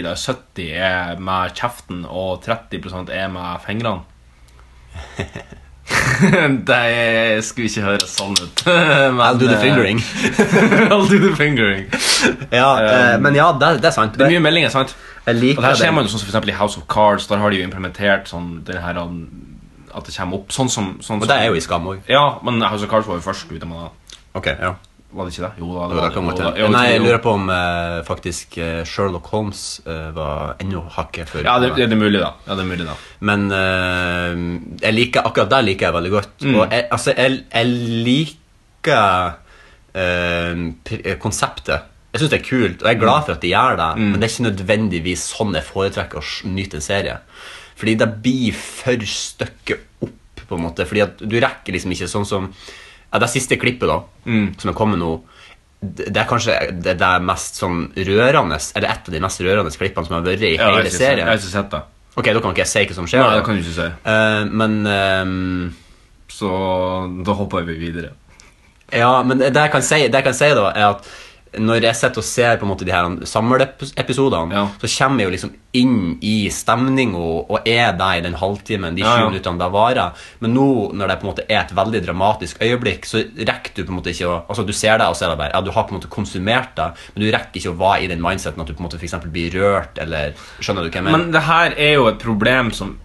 S2: der 70 er med kjeften, og 30 er med fingrene. det skulle ikke høres sånn ut. Men,
S3: I'll do the
S2: eh,
S3: fingering.
S2: I'll do the fingering.
S3: Ja, eh,
S2: Um,
S3: men ja, det, det er sant.
S2: Det er mye meldinger, sant?
S3: Jeg liker
S2: og det her ser
S3: det.
S2: man jo sånn som for eksempel i House of Cards, der har de jo implementert sånn den her um, At det kommer opp sånn som sånn,
S3: Og det er jo i Skam òg.
S2: Ja, men House of Cards var jo først ute med det.
S3: Okay, ja.
S2: Var det ikke det? Jo da.
S3: Det var det jeg kom
S2: jo
S3: til.
S2: da. Jo,
S3: Nei, jeg
S2: jo.
S3: lurer på om eh, faktisk eh, Sherlock Holmes eh, var enda hakket før.
S2: Ja, det, det er mulig, da. Ja, det er mulig da
S3: Men eh, jeg liker, akkurat det liker jeg veldig godt.
S2: Mm.
S3: Og jeg, altså, jeg, jeg liker eh, pr- eh, konseptet. Jeg syns det er kult, og jeg er
S2: Mm.
S3: glad for at de gjør det, men det er ikke nødvendigvis sånn jeg foretrekker å s- nyte en serie. Fordi det blir for stykket opp, på en måte. Fordi at du rekker liksom ikke sånn som ja, Det siste klippet, da,
S2: Mm.
S3: som er kommet nå det det er kanskje det, det er mest sånn rørende Eller et av de mest rørende klippene som har vært i
S2: Ja, jeg har
S3: hele
S2: ikke sett- Jeg
S3: serien.
S2: har ikke sett det.
S3: Ok, da kan ikke jeg si hva som skjer.
S2: Nei,
S3: da.
S2: det kan du ikke si.
S3: Eh, men ehm,
S2: Så da hopper vi videre.
S3: Ja, men det jeg kan si, det jeg kan si da, er at når jeg sitter og ser på en måte de her samleepisodene,
S2: Ja.
S3: så kommer jeg jo liksom inn i stemninga og er der i den halvtimen, de sju
S2: Ja, ja.
S3: minuttene det varer. Men nå, når det på en måte er et veldig dramatisk øyeblikk, så rekker du på en måte ikke å Altså, du ser det, og så er det bare Ja, du har på en måte konsumert det, men du rekker ikke å være i den mindseten at du på en måte for eksempel blir rørt, eller Skjønner du hva jeg mener?
S2: Men det her er jo et problem som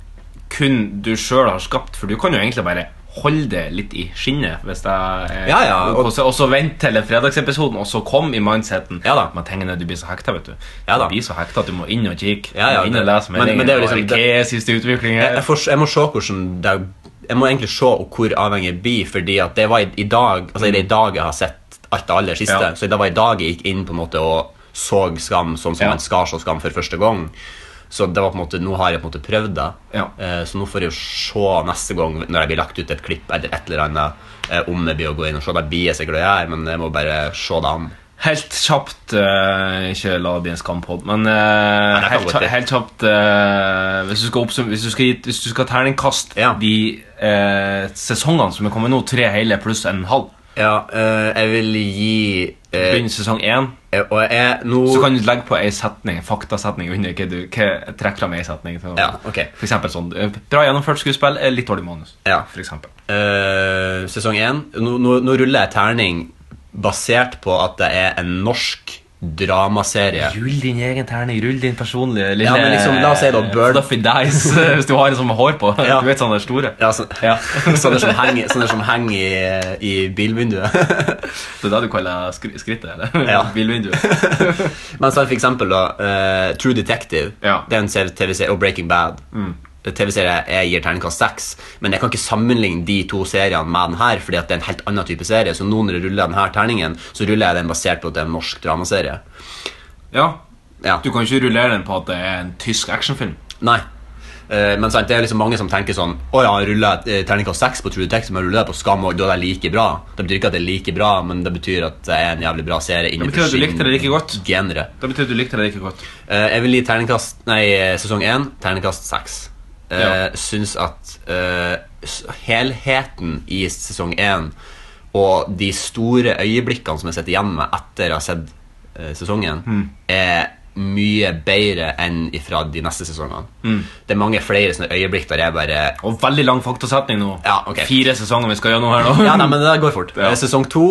S2: kun du sjøl har skapt, for du kan jo egentlig bare holde det litt i skinnet. Hvis det er,
S3: Ja, ja, og-
S2: og, så- og så vente til fredagsepisoden, og så kom i mindseten.
S3: Ja da.
S2: Men tingene du blir så hekta, vet du.
S3: Ja da.
S2: Du blir så hekta at du må inn og kikke.
S3: Ja, ja,
S2: du må inn og
S3: det-
S2: lese
S3: men- men
S2: meldingen.
S3: det er jo
S2: og
S3: liksom-
S2: hva er siste utvikling
S3: jeg,
S2: her?
S3: jeg, får, jeg må se hvordan det Jeg må egentlig se hvor avhengig jeg blir, fordi at det var i, i dag Altså det er i dag jeg har sett alt det aller siste.
S2: Ja.
S3: Så det var i dag jeg gikk inn på en måte og så Skam sånn som
S2: Ja.
S3: man skal se Skam for første gang. Så det var på en måte, nå har jeg på en måte prøvd det.
S2: Ja.
S3: Eh, Så nå får jeg jo se neste gang når jeg blir lagt ut et klipp eller et eller annet, eh, om jeg blir å gå inn og se. Det blir jeg sikkert å gjøre, men jeg må bare se det an.
S2: Helt kjapt eh, Ikke la det bli en skampod, men eh,
S3: det kan
S2: helt,
S3: godt bli.
S2: kja- helt kjapt eh, Hvis du skal oppsummere Hvis du skal, gi- hvis du skal terningkast
S3: Ja.
S2: de eh, sesongene som er kommet nå, tre hele pluss en halv
S3: Ja, eh, jeg vil gi eh,
S2: Begynn sesong én,
S3: Og jeg nå
S2: så kan du legge på ei setning, faktasetning under hva du hva, trekk fram ei setning. Så,
S3: Ja, ok.
S2: For eksempel sånn eh, Bra gjennomført skuespill, eh, litt dårlig manus.
S3: Ja.
S2: For eksempel.
S3: Eh, sesong 1 nå, nå, nå ruller jeg terning basert på at det er en norsk dramaserie.
S2: Rull din egen terning, rull din personlige lille
S3: Ja, men liksom, la oss si da, Bird-
S2: Fluffy dice, hvis du har en som har hår på.
S3: Ja.
S2: Du vet sånne store.
S3: Ja, så,
S2: Ja.
S3: sånne som henger, sånne som henger i, i bilvinduet.
S2: Det er det du kaller skri skrittet, eller?
S3: Ja.
S2: Bilvinduet.
S3: Men så er det for eksempel da, eh, True Detective
S2: Ja.
S3: Det er en serie- TV-serie Og Breaking Bad Det er TV-serie jeg gir terningkast 6 Men jeg kan ikke sammenligne de to seriene med den her Fordi at det er en helt annen type serie Så nå når jeg ruller den her terningen Så ruller jeg den basert på at det er en norsk dramaserie
S2: Ja.
S3: Ja.
S2: Du kan ikke rullere den på at det er en tysk actionfilm.
S3: Nei. Eh, men sant, det er liksom mange som tenker sånn Å ja, jeg ruller eh, terningkast seks på True Detective, men jeg ruller det på Skam òg. Da er det like bra. Det betyr ikke at det er like bra, men det betyr at det er en jævlig bra serie
S2: betyr at du likte det like godt.
S3: genre.
S2: Det betyr at du likte det ikke godt.
S3: Eh, jeg vil gi terningkast Nei, eh, sesong én terningkast seks. Uh,
S2: Ja.
S3: Syns at eh, s- helheten i sesong én og de store øyeblikkene som jeg sitter igjen med etter jeg har sett eh, sesongen, er mye bedre enn ifra de neste sesongene. Det er mange flere sånne øyeblikk der jeg bare
S2: Og veldig lang faktasetning nå.
S3: Ja, ok.
S2: Fire sesonger vi skal gjøre nå her nå.
S3: Ja, nei, men det der går fort.
S2: Ja.
S3: Eh, Sesong to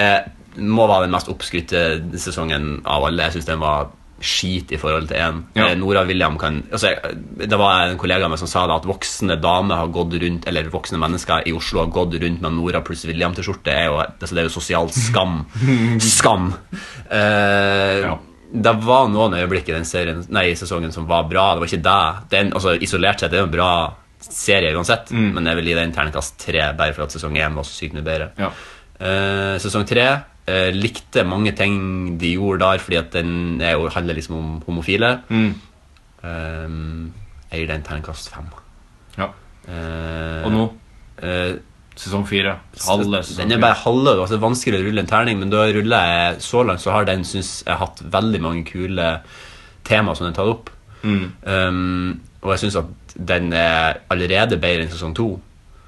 S3: eh, må være den mest oppskrytte sesongen av alle. Jeg syns den var skit i forhold til én.
S2: Ja.
S3: Eh, Nora William kan altså, jeg- Det var en kollega av meg som sa det at voksne damer har gått rundt Eller voksne mennesker i Oslo har gått rundt med Nora pluss William til skjorte. Det er jo, altså, det er jo sosial skam. skam! Eh,
S2: Ja.
S3: Det var noen øyeblikk i den serien, nei, i sesongen som var bra. Det var ikke det. Den, altså, isolert sett det er det en bra serie uansett,
S2: Mm.
S3: men jeg vil gi den terningkast tre bare for at sesong én var så sykt mye bedre.
S2: Ja.
S3: Eh, sesong tre eh, likte mange ting de gjorde der, fordi at den er jo, handler liksom om homofile.
S2: Mm.
S3: Eh, jeg gir den terningkast fem.
S2: Ja.
S3: Eh,
S2: Og nå,
S3: eh,
S2: sesong fire. Halve
S3: så-
S2: sesong
S3: Den er bare halve, altså det er vanskelig å rulle en terning, men da jeg ruller jeg så langt, så har den synes jeg hatt veldig mange kule temaer som den tar opp.
S2: Mm.
S3: Um, og jeg syns at den er allerede bedre enn sesong to.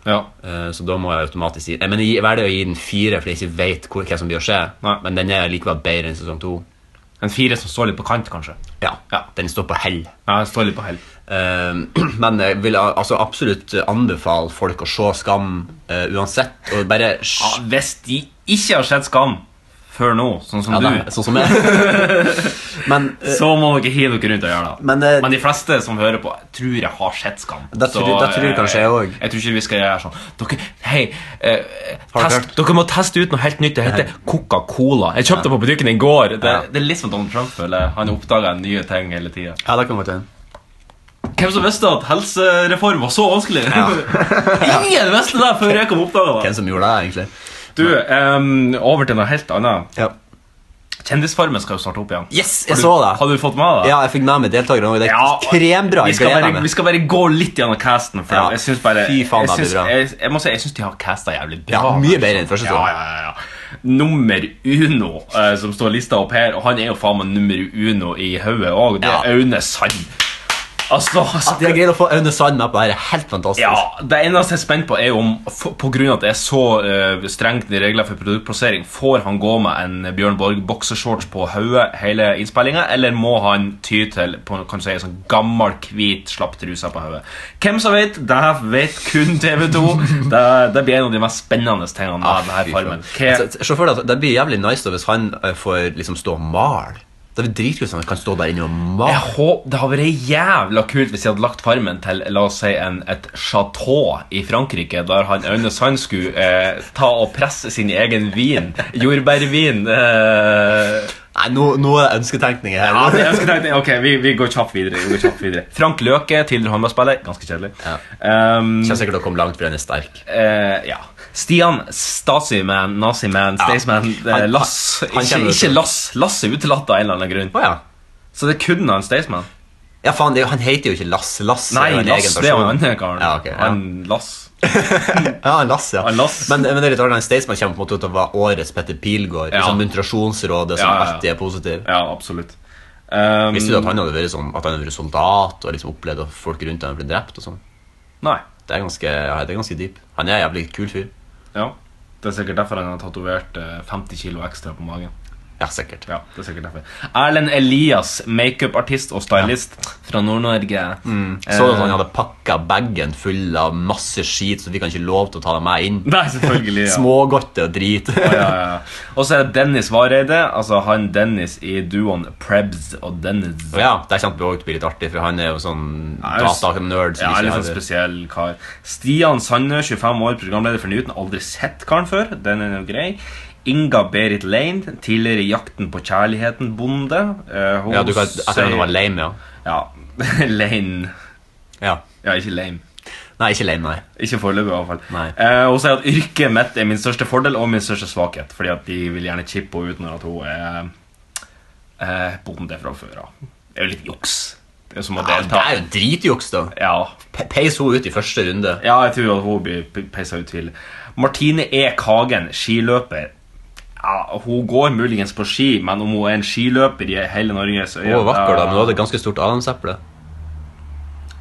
S2: fire. Ja.
S3: Eh, Så da må jeg automatisk si Jeg mener, jeg velger å gi den fire fordi jeg ikke vet hvor, hva som blir å skje.
S2: Nei.
S3: Men den er likevel bedre enn sesong to.
S2: En fire som står litt på kant, kanskje.
S3: Ja. Den står på hell.
S2: Ja, den står litt på hell.
S3: Eh, men jeg vil al- altså, absolutt anbefale folk å se Skam eh, uansett. Og bare
S2: Ja,
S3: sj-
S2: hvis de ikke har sett Skam før nå, sånn som
S3: ja, nei,
S2: du,
S3: sånn som jeg. men eh,
S2: så må dere hive dere rundt og gjøre det.
S3: Men, eh,
S2: de fleste som hører på, tror jeg har sett Skam.
S3: Det
S2: Så,
S3: tror- det tror jeg
S2: eh,
S3: kanskje jeg også.
S2: Jeg tror ikke vi skal gjøre sånn Dere, hei, eh,
S3: Har du
S2: test, dere må teste ut noe helt nytt. Det heter Coca-Cola. Jeg kjøpte det på butikken i går. Det, det er litt som Donald Trump føler. jeg. Han oppdager nye ting hele tida.
S3: ja, det kan godt hende.
S2: Hvem som visste at helsereform var så vanskelig? Ingen visste det før jeg kom og oppdaga det.
S3: Hvem som gjorde det, egentlig?
S2: Du, em, over til noe helt annet.
S3: Ja.
S2: Kjendisfarmen skal jo starte opp igjen.
S3: Yes,
S2: Har
S3: jeg
S2: du-
S3: så det.
S2: Har du fått med det?
S3: Ja, jeg fikk med meg deltakerne òg. Det er
S2: Ja,
S3: krembra.
S2: Vi
S3: Jeg
S2: skal,
S3: gleder
S2: bare, vi
S3: meg.
S2: skal bare gå litt gjennom casten. For
S3: Ja.
S2: jeg synes bare,
S3: Fy faen,
S2: jeg
S3: det blir
S2: synes,
S3: bra.
S2: jeg, jeg må si, jeg synes de har casta jævlig bra. altså.
S3: Ja, mye bedre enn første
S2: Ja,
S3: sesong.
S2: ja, ja, ja. Nummer uno, eh, som står lista opp her, og han er jo faen meg nummer uno i hodet òg, det
S3: Ja.
S2: er Aune Sand. Altså, altså
S3: At de har greid å få Aune Sand med på det her, er helt fantastisk.
S2: ja, Det eneste jeg er spent på, er om f- på grunn av at det er så eh, strengt i regler for produktplassering, får han gå med en Bjørn Borg boksershorts på hodet hele innspillinga, eller må han ty til på, kan du si, en sånn gammel, hvit slapptruse på hodet? Hvem som vet, det vet kun TV2. det, det blir en av de mest spennende tingene
S3: Ah,
S2: med
S3: fy
S2: denne
S3: faen.
S2: farmen. Hva,
S3: Altså, se for deg at det blir jævlig nice da hvis han eh, får liksom stå og male. Det blir dritkult hvis han kan stå der inne og
S2: jeg
S3: male.
S2: håper, Det hadde vært jævla kult hvis de hadde lagt farmen til la oss si, en, et chateau i Frankrike, der han Aune Sand skulle eh, ta og presse sin egen vin. Jordbærvin. Eh,
S3: Nei, nå, nå er det ønsketenkning her.
S2: ja, det jeg skulle tenkt, ok, vi, vi går kjapt videre. Vi går kjapt videre. Frank Løke, tidligere håndballspiller. Ganske kjedelig.
S3: Ja.
S2: Um,
S3: Kjenner sikkert å komme langt, for den er sterk.
S2: eh, ja. Stian Stasi-man, Nazi-man, Staysman, eh,
S3: Han-
S2: Lass.
S3: han
S2: Ikke,
S3: kjenner du
S2: ikke
S3: til.
S2: Lass. Lass er utelatt av en eller annen grunn.
S3: Å ja.
S2: Så det er kun han Staysman.
S3: Ja, faen, det, er jo- han heter jo ikke Lass. Lass er jo
S2: Nei,
S3: en
S2: Lass,
S3: egen
S2: det er jo
S3: person.
S2: han andre karen.
S3: Ja, ok, ja.
S2: Han Lass.
S3: Ja, han Lass, ja.
S2: Han Lass.
S3: Men, men det er litt rart, han Staysman kommer på en måte til å være årets Petter Pilgaard.
S2: Ja.
S3: Liksom Muntrasjonsrådet som
S2: Ja, ja, ja.
S3: alltid er positiv.
S2: Ja, absolutt. Um,
S3: Visste du at han hadde vært sånn, at han hadde vært soldat og liksom opplevd at folk rundt ham ble drept og sånn?
S2: Nei.
S3: Det er ganske, ja, det er ganske deep. Han er en jævlig kul fyr.
S2: Ja. Det er sikkert derfor han har tatovert eh, 50 kilo ekstra på magen.
S3: Ja, sikkert.
S2: Ja, det er sikkert derfor. Erlend Elias, makeupartist og stylist Mm. fra Nord-Norge.
S3: Så du at
S2: Eh.
S3: han hadde pakka bagen full av masse skit, så fikk han ikke lov til å ta det med inn?
S2: Nei, selvfølgelig. Ja.
S3: Smågodte og drit.
S2: Ja, ja, ja. Og så er det Dennis Vareide. Altså han Dennis i duoen Prebz og Dennis.
S3: Og ja, det kjente vi også blir litt artig, for han er jo sånn
S2: jeg er jo-
S3: datanerd. som
S2: Ja,
S3: ikke
S2: litt sånn
S3: har-
S2: spesiell kar. Stian Sandø, 25 år, programleder for Newton. Aldri sett karen før. Den er jo grei. Inga Berit Lein, tidligere i Jakten på kjærligheten-bonde. Eh, hun
S3: ja, du kan, jeg tror han var lame, ja.
S2: Ja. Lein.
S3: ja.
S2: Ja, ikke lame.
S3: Nei, ikke lame, nei.
S2: Ikke foreløpig, i hvert fall.
S3: Nei.
S2: Eh, hun sier at yrket mitt er min største fordel og min største svakhet. Fordi at de vil gjerne chippe henne uten at hun er eh, bonde fra før av. Det er jo litt juks. Det er jo som å
S3: Ja, det
S2: delta.
S3: er jo dritjuks, da.
S2: Ja,
S3: Pe- Peis hun ut i første runde.
S2: Ja, jeg tror at hun blir p- peisa ut til. Martine E. Kagen, skiløper. Ja, hun går muligens på ski, men om hun er en skiløper i hele Norge, så
S3: Hun
S2: er
S3: var vakker, da, men hun
S2: det
S3: hadde et ganske stort adamseple.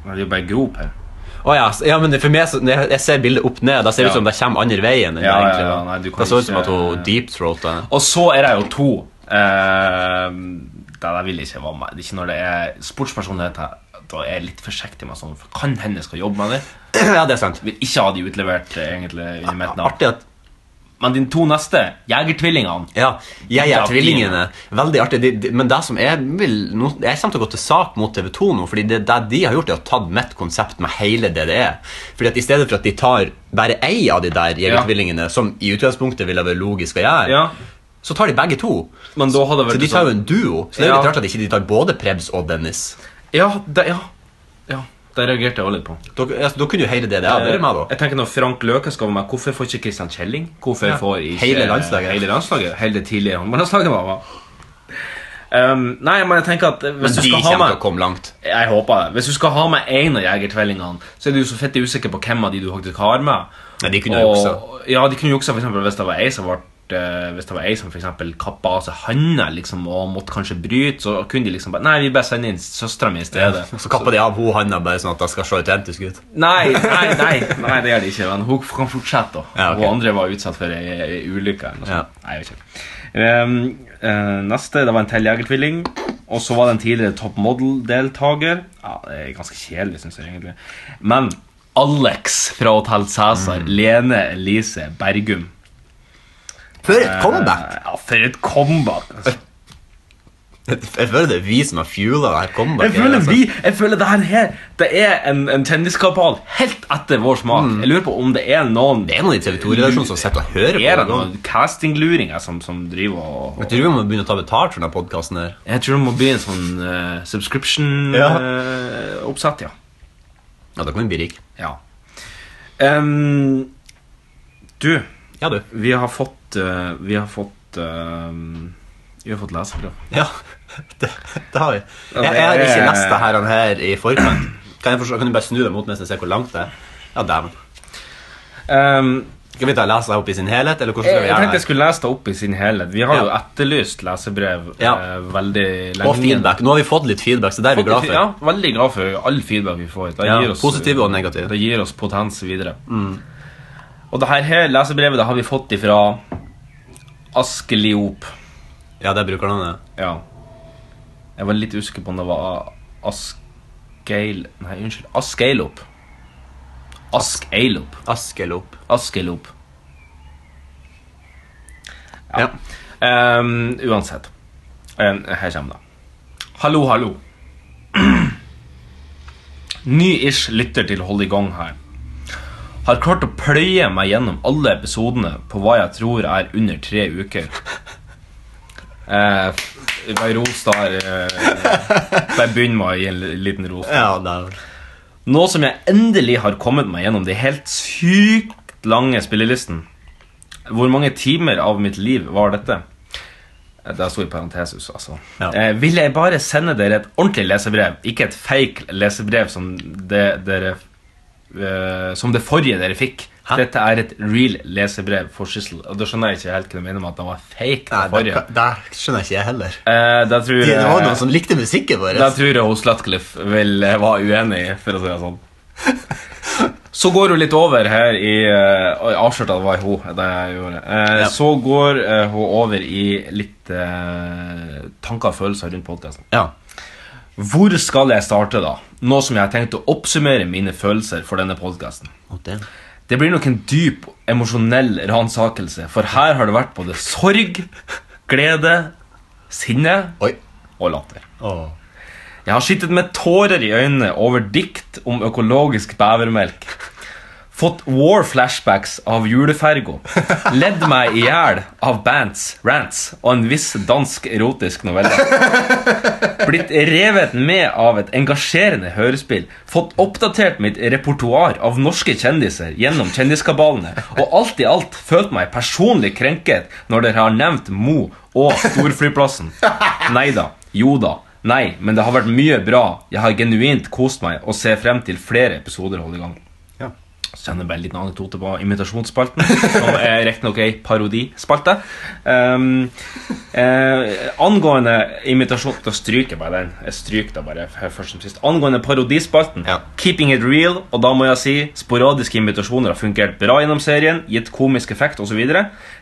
S2: Det er jo bare grop her.
S3: Å ja, s- ja, men for meg, så, når jeg- jeg ser bildet opp ned, da ser det ut som det kommer andre veien. enn det
S2: Ja, ja,
S3: egentlig
S2: ja,
S3: var.
S2: nei, du kan
S3: det så ut som
S2: ikke-
S3: at hun deep-throata.
S2: Og så er det jo to eh, det der vil jeg ikke være med. Det er ikke når det er sportspersonligheter. Da er jeg litt forsiktig med sånn. For kan hende jeg skal jobbe med det.
S3: Ja, det er sant.
S2: Vil ikke ha de utlevert, eh, egentlig. under mitt navn.
S3: Artig at
S2: Men dine to neste, Jegertvillingene
S3: Ja, jeg er
S2: Ja,
S3: tvillingene. Veldig artig. De, de, men det som jeg vil nå, Jeg kommer til å gå til sak mot TV2 nå, fordi det, det de har gjort, er å tatt mitt konsept med hele det det er. Fordi at I stedet for at de tar bare ei av de der jegertvillingene, som i utgangspunktet ville vært logisk å gjøre,
S2: Ja.
S3: så tar de begge to.
S2: Men da hadde det vært
S3: så de tar jo en duo. Så det er jo
S2: Ja.
S3: litt rart at ikke de ikke tar både Prebz og Dennis.
S2: Ja, det, ja. ja. Det reagerte jeg også litt på.
S3: Da, altså, da kunne jo hele det det er. Det er meg, da.
S2: Jeg tenker Når Frank Løke skal være med, hvorfor får ikke Christian Kjelling? Hvorfor får ikke
S3: Hele landslaget.
S2: Hele landslaget, hele det tidligere håndballandslaget var med? Um, nei, men jeg tenker at eh,
S3: Men
S2: hvis du
S3: de
S2: skal
S3: kommer
S2: ha
S3: til å
S2: med
S3: komme langt.
S2: Jeg håper det. Hvis du skal ha med én av jegertvillingene, så er du jo så fett usikker på hvem av de du faktisk har med.
S3: Ja, de kunne juksa.
S2: Ja, de kunne juksa for eksempel, hvis det var ei som ble eh, hvis det var ei som for eksempel kappa av seg handa liksom, og måtte kanskje bryte, så kunne de liksom bare Nei, vi bare sender inn søstera mi i stedet.
S3: Så kapper de av hun handa bare sånn at det skal se autentisk ut.
S2: Nei, nei, nei, nei, det gjør det ikke. Men hun kan fortsette. da
S3: Ja, ok.
S2: Og andre var utsatt for ei ei ulykke. Eller noe
S3: Ja.
S2: sånt. Nei, jeg vet ikke. Ehm, eh, neste det var en til jegertvilling. Og så var det en tidligere top model-deltaker. Ja, det er ganske kjedelig, synes jeg. egentlig Men Alex fra Hotell Cæsar. Lene Elise Bergum.
S3: For et comeback!
S2: Eh, Ja, for et comeback! Altså.
S3: Jeg føler det er vi som har fuela det her
S2: Jeg
S3: comebacket.
S2: føler,
S3: altså.
S2: vi, jeg føler det her, her Det er en, en kjendiskapal helt etter vår smak. Jeg lurer på om det er noen
S3: Det er noen i TV 2-redaksjonen som sitter og hører
S2: Er det
S3: på.
S2: noen castingluringer som, som driver og,
S3: Jeg tror vi må begynne å ta betalt for denne podkasten her.
S2: Jeg tror det må bli en sånn eh,
S3: Ja.
S2: subscription-oppsett, ja.
S3: Ja, da kan vi bli rik.
S2: ja. Ehm, du,
S3: Ja, du.
S2: vi har fått eh, Vi har fått eh, Vi har fått leserbrev.
S3: Ja, det, det har vi.
S2: Ja, det
S3: Jeg, jeg har ikke
S2: er-
S3: lest det her, han her i forkant. Kan, jeg forstå, kan du bare snu deg mot mens jeg ser hvor langt det er? Ja, dæven.
S2: Ehm,
S3: Skal vi ta og lese det opp i sin helhet, eller hvordan
S2: jeg,
S3: skal vi
S2: jeg
S3: gjøre
S2: tenkte
S3: det?
S2: jeg skulle lese det opp i sin helhet. Vi har jo
S3: Ja.
S2: etterlyst lesebrev
S3: Ja.
S2: eh, veldig
S3: her?
S2: lenge.
S3: Og feedback. Nå har vi fått litt feedback, så det er vi glad for.
S2: Ja, veldig glad for all feedback vi får. Det
S3: Ja,
S2: gir oss,
S3: positiv og negativ. Mm.
S2: Det gir oss potens videre. Og det her, her lesebrevet det har vi fått ifra Askeliop.
S3: Ja, det bruker han, ja.
S2: Ja. Jeg var litt usikker på om det var Askeil... Nei, unnskyld. Askeilop. Askeilop.
S3: Askelop.
S2: Askelop.
S3: Ja.
S2: Ehm, uansett. Ehm, her kommer det. Hallo, hallo. Ny-ish lytter til Hold i gang her. Har klart å pløye meg gjennom alle episodene på hva jeg tror er under tre uker. Eh, Bare ros der. eh, Bare begynn med å gi en li- liten ros.
S3: Ja, dæven.
S2: Nå som jeg endelig har kommet meg gjennom de helt sykt lange spillelisten Hvor mange timer av mitt liv var dette? Eh, Det sto i parentesus, altså.
S3: Ja.
S2: Eh, vil jeg bare sende dere et ordentlig lesebrev, ikke et fake lesebrev som det, dere eh, Som det forrige dere fikk.
S3: Hæ?
S2: Dette er et real lesebrev for Sissel. Og da skjønner jeg ikke helt hva du mener med at det var fake.
S3: Nei,
S2: Det
S3: det,
S2: forrige.
S3: det skjønner ikke jeg heller.
S2: Eh, da tror
S3: Det, det var
S2: jeg-
S3: noen som likte musikken vår.
S2: det tror jeg hun Slatcliffe vil eh, være uenig i, for å si det sånn. Så går hun litt over her i eh, Oi, avslørte at det var hun. Det jeg gjorde. Eh,
S3: Ja.
S2: Så går eh, hun over i litt eh, tanker og følelser rundt podkasten.
S3: Ja.
S2: Hvor skal jeg starte, da? Nå som jeg har tenkt å oppsummere mine følelser for denne podkasten.
S3: Og det-
S2: Det blir nok en dyp emosjonell ransakelse, for her har det vært både sorg, glede, sinne
S3: Oi.
S2: og latter.
S3: Åh.
S2: Jeg har sittet med tårer i øynene over dikt om økologisk bevermelk. Fått war-flashbacks av julefergo. Ledd meg i hjel av bands, rants og en viss dansk erotisk novelle. Blitt revet med av et engasjerende hørespill. Fått oppdatert mitt repertoar av norske kjendiser gjennom kjendiskabalene. Og alt i alt følt meg personlig krenket når dere har nevnt Mo og storflyplassen. Nei da. Jo da. Nei, men det har vært mye bra. Jeg har genuint kost meg og ser frem til flere episoder holde i gang.
S3: Ja.
S2: sender bare en liten anekdote på imitasjonsspalten, som er riktignok ei parodispalte. Um, eh, angående imitasjon Da stryker jeg bare den. Jeg stryker det bare f- først som sist. Angående parodispalten,
S3: Ja.
S2: keeping it real, og da må jeg si sporadiske imitasjoner har fungert bra gjennom serien, gitt komisk effekt osv.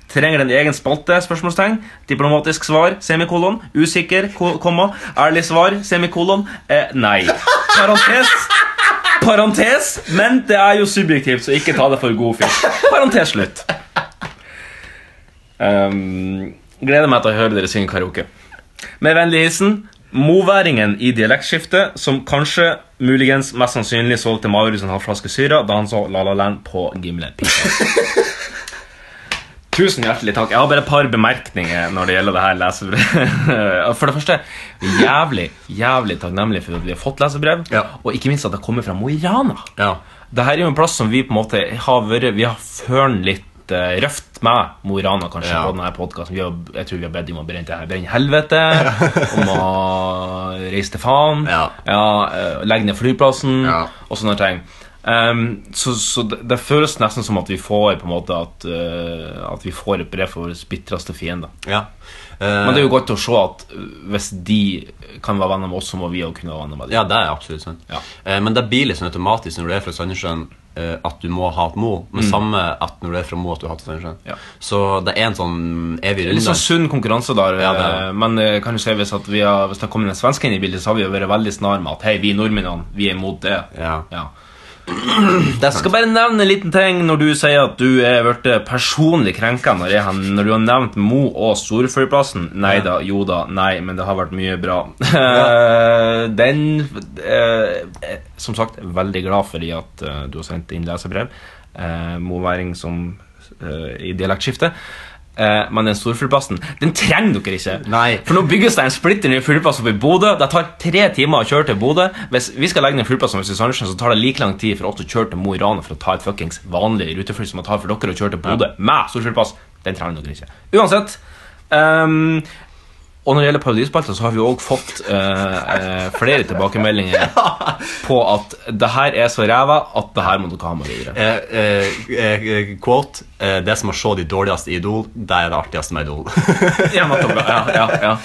S2: Trenger den egen spalte? spørsmålstegn Diplomatisk svar? semikolon Usikker? ko- komma Ærlig svar? semikolon eh, Nei. Parentes Parentes, men det er jo subjektivt, så ikke ta det for god fisk. Parentes slutt. Um, gleder meg til å høre dere synge karaoke. Med vennlig hilsen moværingen i dialektskiftet, som kanskje, muligens, mest sannsynlig solgte Marius en halv flaske syre da han så La La Land på Gimle Pizza. Tusen hjertelig takk. Jeg har bare et par bemerkninger når det gjelder det her lesebrevet. For det første, jævlig, jævlig takknemlig for at vi har fått lesebrev,
S3: Ja.
S2: og ikke minst at det kommer fra Mo i Rana.
S3: Ja.
S2: Det her er jo en plass som vi på en måte har vært Vi har førn litt eh, røft med Mo i Rana, kanskje,
S3: Ja.
S2: på denne podkasten. Jeg tror vi har bedt dem om å brenne til brenne helvete, om å reise til faen,
S3: Ja.
S2: eh, legge ned flyplassen
S3: Ja.
S2: og sånne ting. Ehm, så så det, det føles nesten som at vi får på en måte at, eh, at vi får et brev for våre bitreste fiender.
S3: ja.
S2: Men det er jo godt å se at eh, hvis de kan være venner med oss, så må vi også kunne være venner med dem.
S3: Ja, det er absolutt sant.
S2: Ja.
S3: Eh, men det blir litt sånn automatisk når du er fra Sandnessjøen, eh, at du må hate Mo. Men samme at når du er fra Mo, at du hater Sandnessjøen.
S2: Mm. Ja.
S3: Så det er en sånn evig
S2: Litt
S3: runde.
S2: sånn sunn konkurranse der,
S3: Ja, det er det.
S2: eh, men eh, kan du si hvis, at vi har, hvis det har kommet en svenske inn i bildet, så har vi jo vært veldig snar med at hei, vi nordmennene, vi er imot det.
S3: Ja.
S2: Jeg skal bare nevne en liten ting når du sier at du er blitt personlig krenka når, jeg, har- når du har nevnt Mo og Storflyplassen. Nei da, jo da, nei, men det har vært mye bra. Eh, Den eh, eh, Som sagt, veldig glad for i at eh, du har sendt inn leserbrev. Eh, Moværing som eh, i dialektskiftet. Eh, men den storflyplassen den trenger dere ikke.
S3: Nei.
S2: For nå bygges det en splitter ny flyplass oppe i Bodø. Det tar tre timer å kjøre til Bodø. Hvis vi skal legge ned flyplassen ved Sandnessjøen, så tar det like lang tid for oss å kjøre til Mo i Rana for å ta et fuckings vanlig rutefly som det tar for dere å kjøre til Bodø med storflyplass. Den trenger dere ikke. Uansett. ehm, og når det gjelder parodispalta, så har vi òg fått eh, eh, flere tilbakemeldinger på at det her er så ræva at det her må dere ha med videre.
S3: Eh, eh, eh, quote eh, Det som har så de dårligste i Idol, det er det artigste med Idol.
S2: Ja, ja, ja, ja.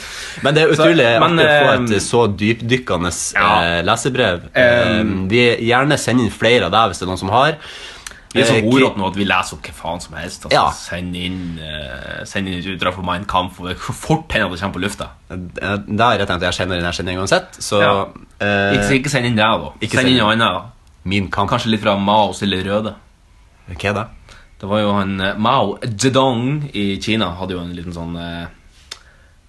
S3: men det er utrolig
S2: Så- men,
S3: artig å få et
S2: eh,
S3: så dypdykkende
S2: Ja.
S3: eh, lesebrev. Eh, vi gjerne sender inn flere av deg hvis det er noen som har.
S2: Vi er så
S3: Eh, kri-
S2: ordrette nå at vi leser opp hva faen som helst. Altså,
S3: Ja.
S2: Send inn uh, Send inn et utdrag for Mein Kampf, og det er fort hender at det kommer på lufta.
S3: Eh, Det har jeg tenkt at jeg kjenner den jeg kjenner uansett. Så
S2: Ja.
S3: eh,
S2: Ikke, ikke send inn det, da.
S3: Ikke
S2: send
S3: send
S2: inn
S3: inn.
S2: noe annet. da.
S3: min kamp
S2: Kanskje litt fra Mao Stille Røde.
S3: Hva er det?
S2: Det var jo han eh, Mao Zedong i Kina hadde jo en liten sånn eh,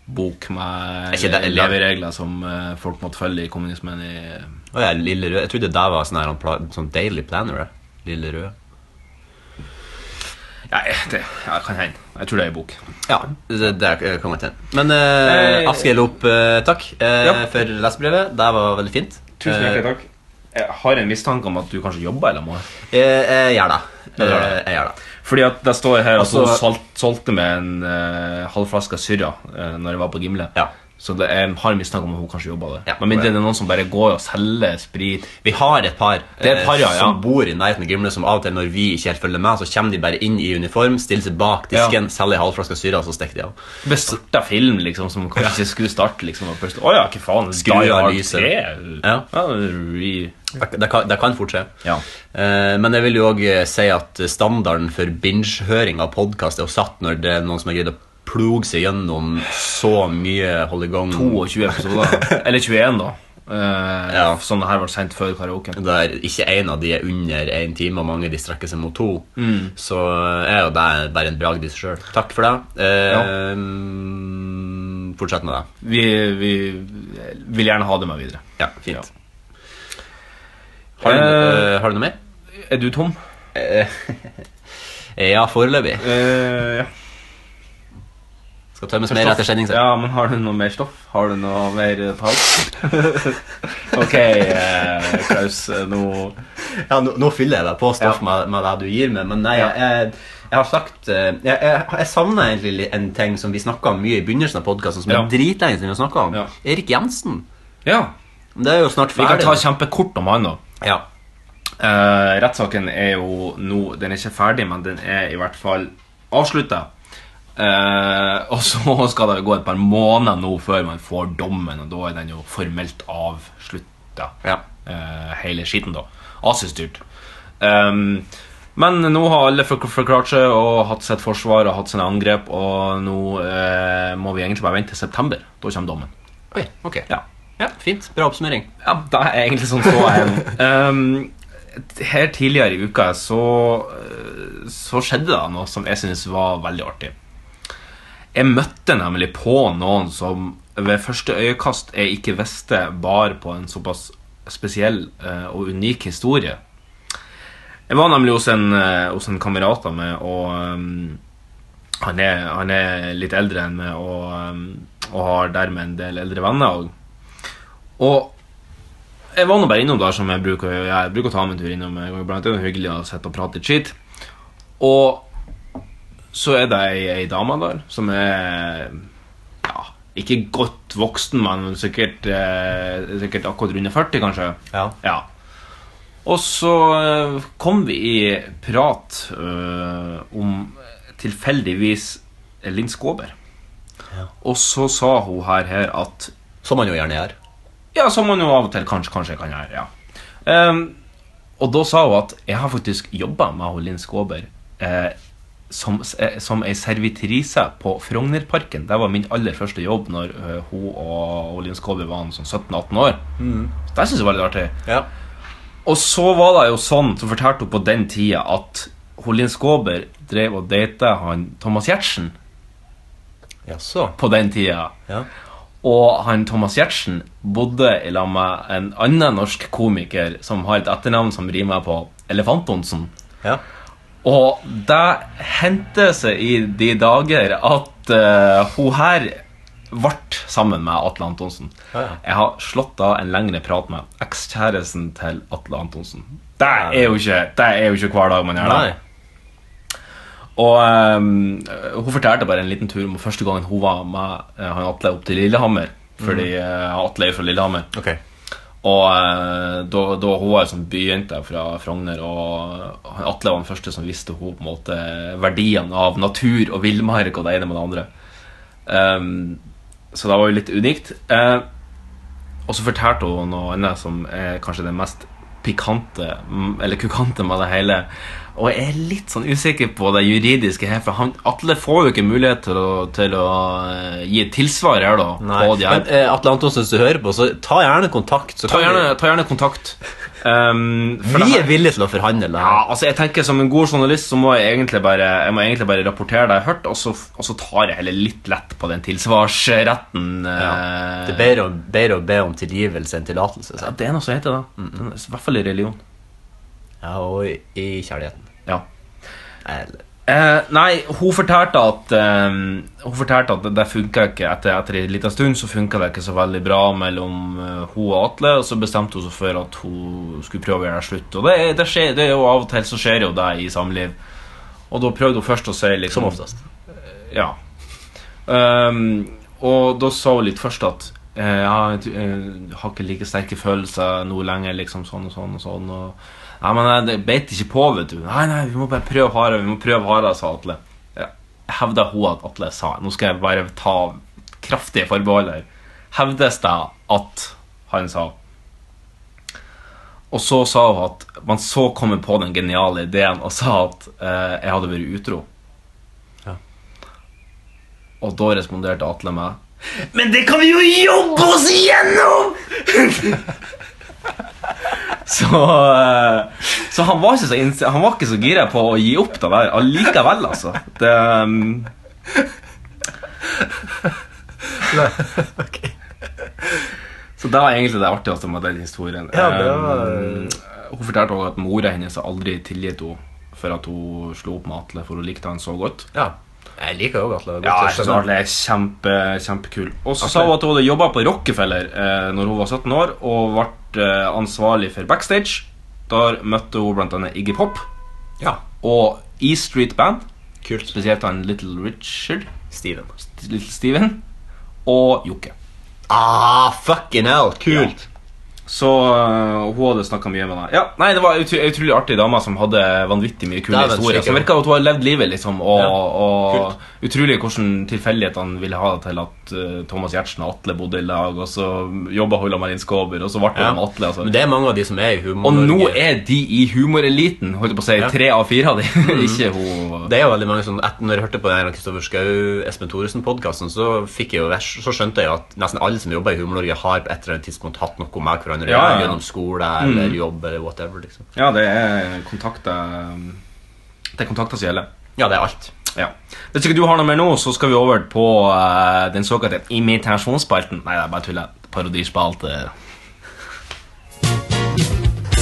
S2: bok med
S3: Er ikke det-
S2: leveregler som eh, folk måtte følge i kommunismen i
S3: Å ja, Lille Rød. Jeg trodde det var sånn, her, han pla- sånn Daily Planner. det. Lille Rød.
S2: Ja, det ja, kan hende. Jeg tror det er ei bok.
S3: Ja, det, det er- kan jeg til. Men uh,
S2: Eh,
S3: Askild opp, eh, takk eh,
S2: ja.
S3: for lesebrevet. Det var veldig fint. Eh,
S2: takk. Jeg har en mistanke om at du kanskje jobber eller noe.
S3: eh, Jeg gjør det.
S2: Ja, det gjør
S3: Eh,
S2: det.
S3: Jeg gjør det.
S2: Fordi at det står her at
S3: Altså-
S2: hun solg- solgte med en eh, halv flaske syrra uh, Når jeg var på Gimle.
S3: Ja.
S2: Så det er en hard mistanke om at hun kanskje jobba der.
S3: Ja.
S2: Men mindre det er noen som bare går og selger sprit.
S3: Vi har et par,
S2: Det er et par, ja,
S3: eh,
S2: ja.
S3: som bor i nærheten av Gimle, som av og til når vi ikke helt følger med, så kommer de bare inn i uniform, stiller seg bak disken,
S2: Ja.
S3: selger en halvflaske syre, og så stikker de av.
S2: Bestarta film liksom som kanskje ikke skulle starte. liksom og først, Å ja, hva faen?
S3: Skru
S2: Die
S3: av
S2: Hard
S3: lyset.
S2: 3?
S3: Ja.
S2: Ja, re-
S3: Det, det, kan, det kan fort skje.
S2: Ja.
S3: Eh, men jeg vil jo òg si at standarden for binge-høring av podkast er jo satt når det er noen som har greid å ploge seg gjennom så mye hold i gang.
S2: 22 episoder. Eller 21, da. Eh,
S3: Ja.
S2: Sånn det her ble sendt før karaoken.
S3: Der ikke én av de er under én time, og mange de strekker seg mot to. Så er jo det bare en bragd i seg sjøl. Takk for det. Eh, Fortsett med det.
S2: Vi, vi vil gjerne ha det med videre.
S3: Ja, fint. Har, du,
S2: Eh,
S3: eh, har du noe mer?
S2: Er du tom?
S3: Ja, foreløpig.
S2: Uh, ja.
S3: Skal tømmes mer etter sending. så.
S2: Ja, men har du noe mer stoff? Har du noe mer eh, tall? ok, eh, Klaus, eh, nå
S3: Ja, nå, nå fyller jeg deg på stoff
S2: Ja.
S3: med, med det du gir meg, men nei, jeg, jeg, jeg har sagt eh, jeg, jeg, jeg savner egentlig li- en ting som vi snakka om mye i begynnelsen av podkasten, som
S2: Ja.
S3: er dritlenge siden vi har snakket om.
S2: Ja.
S3: Erik Jensen.
S2: Ja,
S3: Det er jo snart
S2: Vi kan
S3: ferdig.
S2: ta kjempekort om han, da.
S3: ja.
S2: Eh, rettssaken er jo nå Den er ikke ferdig, men den er i hvert fall avslutta. Eh, og så skal det gå et par måneder nå før man får dommen, og da er den jo formelt avslutta.
S3: Ja.
S2: Eh, hele skiten, da. Asistyrt. Um, men nå har alle for- forklart seg og hatt sitt forsvar og hatt sine angrep, og nå eh, må vi egentlig bare vente til september. Da kommer dommen.
S3: Oi, ok.
S2: Ja.
S3: Ja, fint. Bra oppsummering.
S2: Ja, det er egentlig sånn så er det. um, Her tidligere i uka så, eh, så skjedde det noe som jeg synes var veldig artig. Jeg møtte nemlig på noen som ved første øyekast jeg ikke visste bar på en såpass spesiell eh, og unik historie. Jeg var nemlig hos en, eh, hos en kamerat av meg, og um, han, er, han er litt eldre enn meg og, um, og har dermed en del eldre venner. Og, og jeg var nå bare innom der som jeg bruker å gjøre. Jeg bruker å ta meg en tur innom. Jeg går iblant. Det er jo hyggelig å sitte og prate litt skitt. Og så er det ei, ei dame der som er ja, ikke godt voksen, men sikkert, eh, sikkert akkurat runde 40, kanskje.
S3: Ja.
S2: Ja. Og så eh, kom vi i prat eh, om tilfeldigvis Linn Skåber. Og så sa hun her, her at
S3: Som man jo gjerne gjør.
S2: ja, som man jo av og til kanskje, kanskje kan gjøre, ja. Ehm, og da sa hun at jeg har faktisk jobba med hun Linn Skåber eh, som, s- eh, som ei servitrise på Frognerparken. Det var min aller første jobb når eh, hun og, og Linn Skåber var en sånn 17-18 år. Det syns jeg var litt artig.
S3: Ja.
S2: Og så var det jo sånn, så fortalte hun på den tida at hun Linn Skåber drev og data han Thomas Giertsen
S3: Jaså.
S2: på den tida.
S3: Ja.
S2: Og han Thomas Giertsen bodde i lag med en annen norsk komiker som har et etternavn som rimer på Elefantonsen.
S3: Ja.
S2: Og det hendte seg i de dager at eh, hun her ble sammen med Atle Antonsen.
S3: Ja, ja.
S2: Jeg har slått av en lengre prat med ekskjæresten til Atle Antonsen. Det er jo ikke, det er jo ikke hver dag man gjør det.
S3: Nei.
S2: Og ehm, hun fortalte bare en liten tur om første gangen hun var med eh, han Atle opp til Lillehammer. Fordi
S3: Mhm.
S2: eh, Atle er jo fra Lillehammer.
S3: Ok.
S2: Og eh, da, da hun var jo sånn byjente fra Frogner, og han Atle var den første som visste hun på en måte verdien av natur og villmark og det ene med det andre. Ehm, så det var jo litt unikt. Eh, og så fortalte hun noe annet som er kanskje det mest pikante, mm, eller kukante med det hele. Og jeg er litt sånn usikker på det juridiske her, for han, Atle får jo ikke mulighet til å, til å eh, gi et tilsvar her, da.
S3: Nei.
S2: På de her.
S3: Men eh, Atle Antonsen, hvis du hører på, så ta gjerne kontakt. Så
S2: Ta
S3: kan
S2: gjerne, ta gjerne kontakt. Um,
S3: vi,
S2: for det
S3: vi
S2: her-
S3: er villige til å forhandle det her.
S2: ja, altså jeg tenker Som en god journalist så må jeg egentlig bare, jeg må egentlig bare rapportere det jeg har hørt, og så, og så tar jeg heller litt lett på den tilsvarsretten. eh,
S3: Det er bedre, å- bedre å be om tilgivelse enn tillatelse.
S2: ja,
S3: sant?
S2: det er noe som heter det. Den er- I hvert fall i religion.
S3: Ja, og i, i kjærligheten.
S2: Ja.
S3: Eller
S2: Eh, nei, hun fortalte at eh, Hun fortalte at det, det funka ikke etter, etter en liten stund. Så funka det ikke så veldig bra mellom eh, hun og Atle. Og så bestemte hun seg for at hun skulle prøve å gjøre det slutt. Og det, er- det skjer, det er jo av og til så skjer jo det i samliv. Og da prøvde hun først å si liksom,
S3: Som oftest.
S2: Ja. Ehm, og da sa hun litt først at eh, ja, jeg t- eh, har ikke like sterke følelser nå lenger, liksom sånn og sånn og sånn. Og, nei, men jeg det beit ikke på, vet du. Nei, nei, vi må bare prøve hardere, vi må prøve hardere, sa Atle. Ja, Hevda hun at Atle sa. Nå skal jeg bare ta kraftige forbehold her. Hevdes det at han sa og så sa hun at man så kom hun på den geniale ideen og sa at eh, jeg hadde vært utro. Og da responderte Atle meg Men det kan vi jo jobbe oss igjennom! så eh, Så han var ikke så, inns- han var ikke så gira på å gi opp det der allikevel, altså. Det, um, Så det var egentlig det artigste med den historien.
S3: Ja, det var-
S2: Um, hun fortalte også at mora hennes aldri tilgitt henne for at hun slo opp med Atle, for hun likte han så godt.
S3: Ja. Jeg liker jo Atle. godt,
S2: Ja,
S3: jeg
S2: jeg synes
S3: skjønner.
S2: Arle er kjempe, kjempekul. Og så sa hun at hun hadde jobba på Rockefeller eh, når hun var 17 år, og ble eh, ansvarlig for backstage. Der møtte hun blant annet Iggy Pop
S3: Ja.
S2: og E Street Band,
S3: Kult.
S2: spesielt han Little Richard,
S3: Steven.
S2: Little Steven og Jokke.
S3: Ah, fucking hell. Kult.
S2: Så øh, hun hadde snakka mye med meg. Ja, nei, Det var en utro- utrolig artig dame som hadde vanvittig mye kule
S3: Det er vel
S2: historier.
S3: sikkert.
S2: Som virka at hun har levd livet, liksom. Og,
S3: Ja, kult.
S2: og utrolig hvordan tilfeldighetene ville ha det til at øh, Thomas Giertsen og Atle bodde i lag, og så jobba hun i Marin Skåber, og så ble hun
S3: Ja.
S2: med Atle. Altså.
S3: Men det er mange av de som er i humor.
S2: og nå
S3: Norge.
S2: er de i humoreliten. Holdt jeg på å si
S3: Ja. Mm.
S2: tre av fire av de. Ikke hun
S3: Det er jo veldig mange sånn, et- Når jeg hørte på den her Kristoffer Schau, Espen Thoresen-podkasten, så, fikk jeg jo vers- så skjønte jeg jo at nesten alle som jobber i Humor-Norge, har på et eller annet tidspunkt hatt noe med hverandre
S2: Ja, ja, Mm. ja.
S3: gjennom skole eller jobb eller whatever. liksom.
S2: Ja, det er kontakter Det er kontakter som gjelder.
S3: Ja, det er alt.
S2: Ja. Hvis ikke du har noe mer nå, så skal vi over på eh, den såkalte imitasjonsspalten. Nei, det er bare tuller. Parodispalte.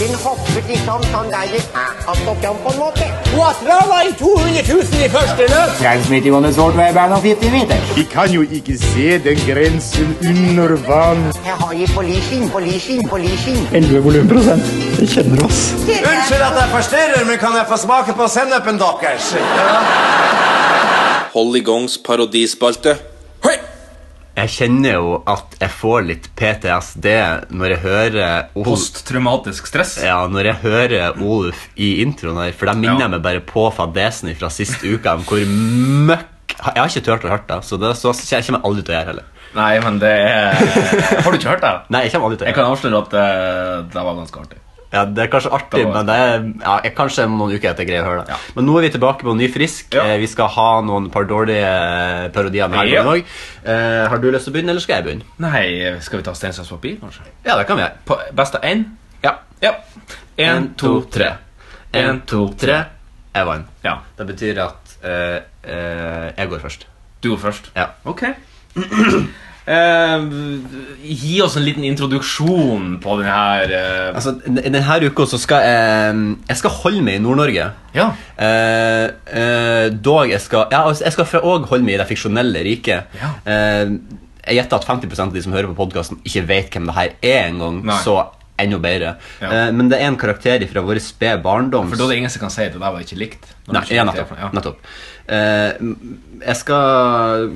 S6: Den hoppet liksom sånn der i kakast og fram på en måte. Wattla var i 200 000 i første løp. Transmittivående svårt vei bæren og 50 meter.
S7: Vi kan jo ikke se den grensen under vann.
S6: Her har jeg polising, polising, polising.
S5: 11 volumprosent. Det kjenner oss.
S8: Unnskyld at jeg forstyrrer, men kan jeg få smake på sennepen deres?
S9: Hold i gongs parodispalte. Hei!
S3: Jeg kjenner jo at jeg får litt PTSD når jeg hører Olf,
S2: Posttraumatisk stress.
S3: ja, når jeg hører Oluf i introen her, for da minner
S2: Ja.
S3: jeg meg bare på fadesen fra sist uke om hvor møkk Jeg har ikke turt å høre det, så det så, jeg kommer aldri til å gjøre heller.
S2: Nei, men det er Har du ikke hørt det?
S3: Nei, jeg kommer aldri til å gjøre
S2: Jeg kan avsløre at eh, det var ganske artig.
S3: Ja, Det er kanskje artig,
S2: Det var-
S3: men det er ja, jeg, kanskje noen uker etter jeg greier å høre det.
S2: Ja.
S3: Men nå er vi tilbake på Ny frisk.
S2: Ja.
S3: Eh, Vi skal ha noen par dårlige eh, parodier med her
S2: Ja.
S3: òg. Eh, har du lyst til å begynne, eller skal jeg begynne?
S2: Nei, skal vi ta stein, saks, papir, kanskje?
S3: Ja, det kan vi gjøre.
S2: På, best av én?
S3: Ja.
S2: Ja. Én, to, tre.
S3: En, to, tre. Jeg vant.
S2: Ja.
S3: Det betyr at eh, eh, jeg går først.
S2: Du går først.
S3: Ja.
S2: Ok. Eh, gi oss en liten introduksjon på den her eh,
S3: Altså, den- Denne uka så skal jeg eh, Jeg skal holde meg i Nord-Norge.
S2: Ja.
S3: Eh, eh, dog jeg skal ja, altså, Jeg skal fra- og holde meg i det fiksjonelle riket.
S2: Ja.
S3: Eh, jeg gjetter at 50 av de som hører på podkasten, ikke vet hvem det her er engang.
S2: Nei.
S3: Så enda bedre.
S2: Ja.
S3: Eh, men det er en karakter fra vår spede barndom.
S2: For da er det ingen som kan si at det der var ikke likt. Når
S3: Nei,
S2: du ikke
S3: ja,
S2: vet det
S3: nettopp.
S2: for noe. Ja.
S3: nettopp. Eh, jeg skal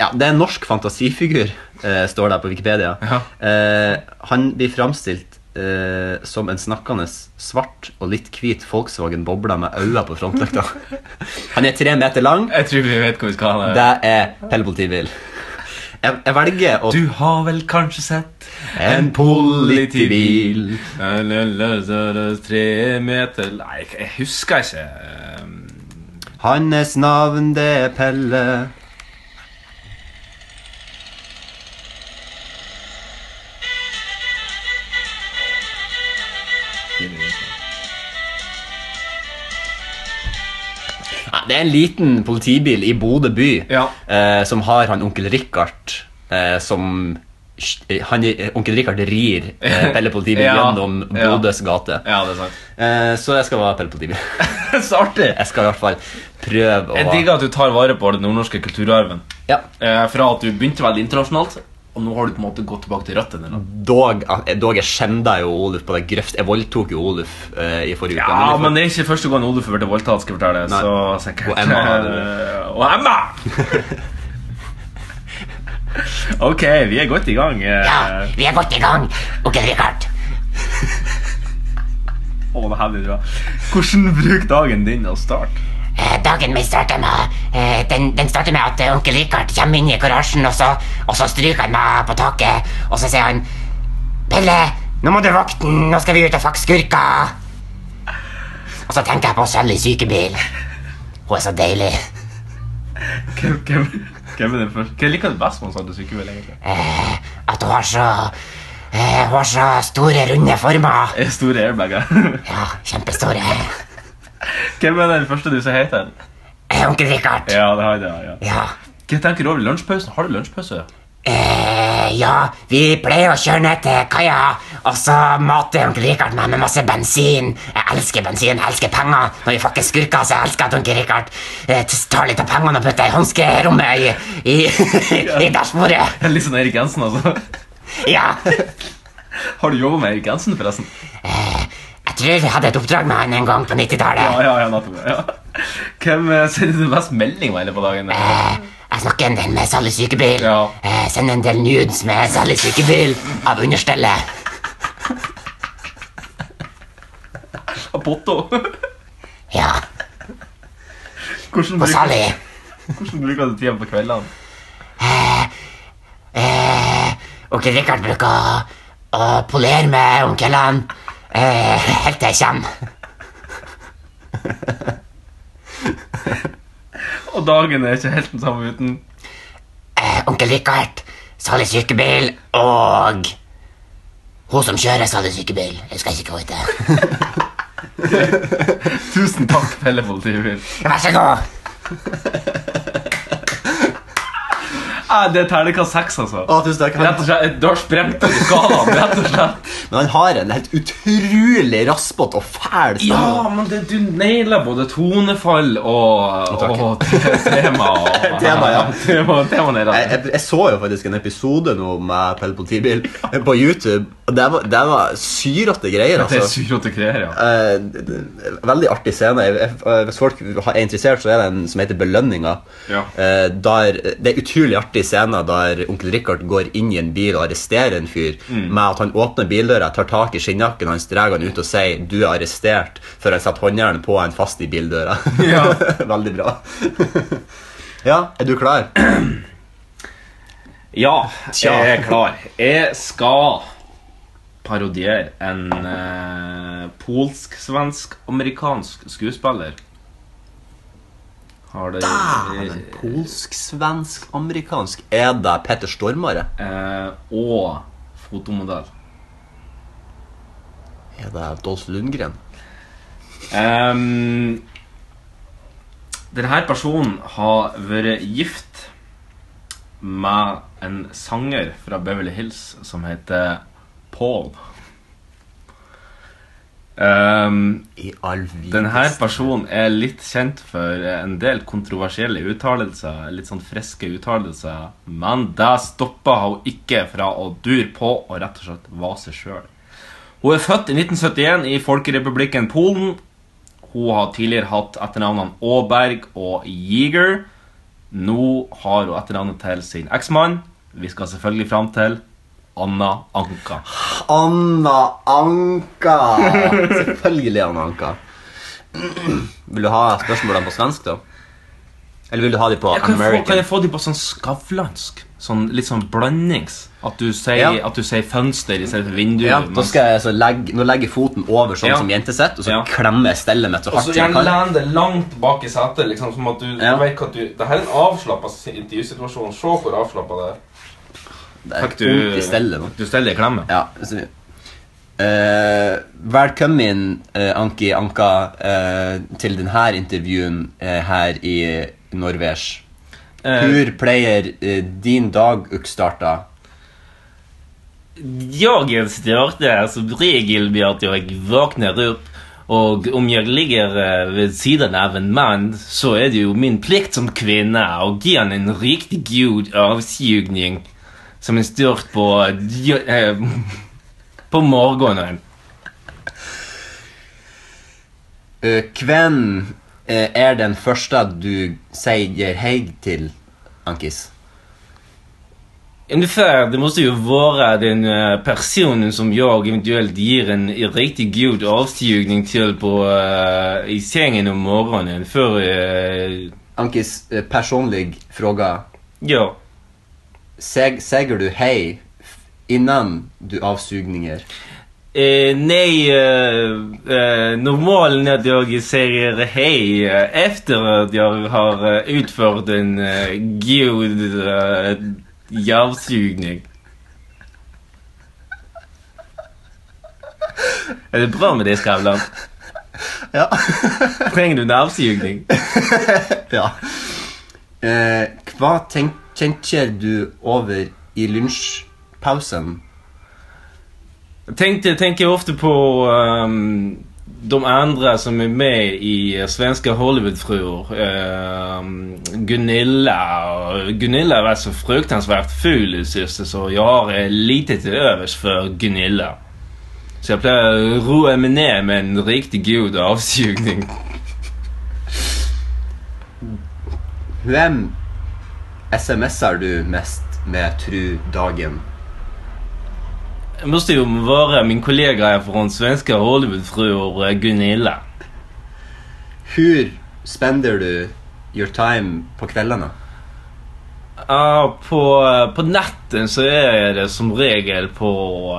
S3: Ja, det er en norsk fantasifigur, eh, står der på Wikipedia.
S2: Ja.
S3: Eh, han blir framstilt eh, som en snakkende svart og litt hvit Volkswagen Bobla med øyne på frontlykta. han er tre meter lang.
S2: Jeg tror vi vet hvor vi skal ha det.
S3: Det er Pelle politibil. Jeg, jeg velger å
S2: Du har vel kanskje sett
S3: En politibil.
S2: Tre meter Nei, jeg- jeg husker ikke. Um,
S3: Hans navn, det er Pelle. Ja, det er en liten politibil i Bodø by
S2: Ja.
S3: eh, som har han onkel Richard eh, som eh, han, Onkel Richard rir eh, Pelle politibil
S2: Ja,
S3: gjennom
S2: ja.
S3: Bodøs gate.
S2: Ja, det er sant.
S3: Eh, så jeg skal være Pelle politibil.
S2: Så artig.
S3: Jeg skal i hvert fall prøve å
S2: Jeg digger at du tar vare på den nordnorske kulturarven.
S3: Ja,
S2: Eh, fra at du begynte veldig internasjonalt, og nå har du på en måte gått tilbake til røttene. dine.
S3: dog, eh, dog jeg skjenda jo Oluf på det grøft. Jeg voldtok jo Oluf eh, i forrige
S2: Ja,
S3: uke. jeg får-
S2: men det er ikke første gang Oluf har vært voldtatt. skal jeg fortelle
S3: Nei.
S2: så sikkert.
S3: Og Emma hadde det.
S2: Eh, Og Emma! ok, vi er godt i gang. eh.
S6: Ja, vi er godt i gang. Ok, Richard.
S2: Å, det her blir bra. Hvordan bruk dagen din å starte?
S6: Eh, Dagen min starter med, eh, den, den starter med at eh, onkel Richard kommer inn i garasjen, og så, og så stryker han meg på taket, og så sier han, Pelle, nå må du våkne, nå skal vi ut og fakke skurker. Og så tenker jeg på Sally sykebil. Hun er så deilig.
S2: Hvem, hvem, hvem er den første? Hva liker du best med Sande Sykebil, egentlig?
S6: At hun har så, eh, hun har så store, runde former.
S2: Er store airbagger.
S6: Ja, kjempestore.
S2: hvem er den første du som heter?
S6: Eh, Onkel Richard.
S2: Ja, det har jeg, ja.
S6: Ja.
S2: Hva tenker du over lunsjpausen? Har du lunsjpause?
S6: Eh, ja, vi pleier å kjøre ned til kaia, og så mater onkel Richard meg med masse bensin. Jeg elsker bensin, jeg elsker penger. Når vi fucker skurker, så jeg elsker at onkel Richard eh, tar litt av pengene og putter i håndskerommet i, i, i dashbordet.
S2: Litt sånn Erik Jensen, altså.
S6: Ja.
S2: Har du jobba med Erik Jensen, forresten?
S6: Jeg tror vi hadde et oppdrag med han en gang på 90-tallet.
S2: Ja, ja, ja, nettopp. Ja. Hvem eh, sender du mest melding med på dagen?
S6: Eh, Jeg snakker en del med Sally Sykebil.
S2: Ja.
S6: Eh, Sender en del nudes med Sally Sykebil av understellet.
S2: potta.
S6: Ja.
S2: Hvordan
S6: Hva sa
S2: bruker,
S6: de?
S2: hvordan bruker du tida på kveldene?
S6: Eh, onkel Rikard bruker å, å polere med onkelen eh, helt til jeg kommer.
S2: Og dagen er ikke helt den samme uten.
S6: Eh, onkel Rikard salg sykebil og hun som kjører, salg sykebil. Jeg skal ikke gå ut det.
S2: Tusen takk, Pelle politibil.
S6: Vær så god.
S2: Ah, det er terningkast seks, altså.
S3: Å, tusen takk.
S2: Rett og
S3: Han,
S2: slett, Du har sprengt over skalaen, rett og slett.
S3: men han har en helt utrolig raspete og fæl
S2: Ja,
S3: stemme.
S2: men det, du nailer både tonefall og,
S3: takk.
S2: og te- tema. og-
S3: Tema, ja.
S2: Tema, tema nailer.
S3: Jeg, jeg, jeg så jo faktisk en episode nå med Pelle Politibil eh, på YouTube. og Det var, det var syrete greier.
S2: Det er
S3: altså.
S2: sykt å kreere, ja.
S3: Eh, d- d- veldig artig scene. Jeg- jeg- eh, Hvis folk er interessert, så er det en som heter Belønninga.
S2: Ja.
S3: Eh, der, det er utrolig artig scene der onkel Richard går inn i en bil og arresterer en fyr med at han åpner bildøra, tar tak i skinnjakken hans, drar han ut og sier 'du er arrestert', før han setter håndjernet på han fast i bildøra.
S2: Ja.
S3: veldig bra. ja, er du klar?
S2: Ja,
S3: Tja.
S2: jeg er klar. Jeg skal parodiere en eh, polsk, svensk, amerikansk skuespiller. Har det
S3: Dæven, polsk, svensk, amerikansk. Er det Petter Stormare?
S2: eh, Og fotomodell.
S3: Er det Dolph Lundgren?
S2: Ehm, denne personen har vært gift med en sanger fra Beverly Hills som heter Paul. Ehm,
S3: I all videste
S2: denne personen er litt kjent for en del kontroversielle uttalelser, litt sånn friske uttalelser, men det stoppa hun ikke fra å dure på og rett og slett være seg sjøl. Hun er født i 1971 i Folkerepublikken Polen. Hun har tidligere hatt etternavnene Aaberg og Yeager. Nå har hun etternavnet til sin eksmann. Vi skal selvfølgelig fram til Anna Anka.
S3: Anna Anka! Selvfølgelig Anna Anka. Vil du ha spørsmålene på svensk, da? Eller vil du ha de på
S2: Ja, kan, jeg få, kan
S3: American?
S2: jeg få de på sånn skavlansk? Sånn litt sånn blandings? At du sier,
S3: Ja.
S2: at du sier fønster i stedet for vindu?
S3: Ja, da skal jeg så legge, Nå legger jeg foten over sånn
S2: Ja.
S3: som jente sitt, og så
S2: Ja.
S3: klemmer jeg stellet mitt så
S2: Og så
S3: hardt jeg
S2: gjerne
S3: kan.
S2: lene deg langt bak i setet, liksom, som at du
S3: Ja.
S2: vet at du Det her er en avslappa intervjusituasjon. Se hvor avslappa det er.
S3: Det er vondt i stellet nå.
S2: Du steller i klemme.
S3: Ja, så, Eh, velkommen, eh, Anki Anka, eh, til denne intervjuen eh, her i Norvers.
S2: Eh.
S3: Hvor pleier eh, din dag å starte?
S2: Dagen starter som regel med at jeg våkner opp, og om jeg ligger eh, ved siden av en mann, så er det jo min plikt som kvinne å gi han en riktig god avsugning som en start på eh, på morgenen.
S3: Eh, hvem eh, er den første du sier hei til, Ankis?
S2: Ungefär, det måste ju vara den eh, personen som jag eventuellt ger en riktigt god avsugning till på, eh, i sängen om morgonen. För, eh,
S3: Ankis, eh, personlig fråga.
S2: ja.
S3: Seg, sier du hei f- innan du avsugninger?
S2: Eh, nej, eh, eh, normalt när jag säger hej eh, efter att jag har eh, utfört en eh, god eh, avsugning. Är det bra med det Skavlan?
S3: Ja.
S2: Trenger du en avsugning?
S3: ja. Eh, hva tenk, tenker du over i lunsjpausen?
S2: Tänkte, tänker jag ofta på ehm, de andra som är med i svenska Hollywoodfruar. Ehm, Gunilla. och- Gunilla var så fruktansvärt ful i syster så jag har eh, lite till övers för Gunilla. Så jag plejer roa mig ner med en riktigt god avsugning.
S3: Hvem SMS-er du mest med tru dagen?
S2: måste ju vara min kollega här från svenska Hollywoodfruar eh, Gunilla.
S3: Hvor spender du your time på kveldene?
S2: Ja, på, eh, på natten så är det som regel på,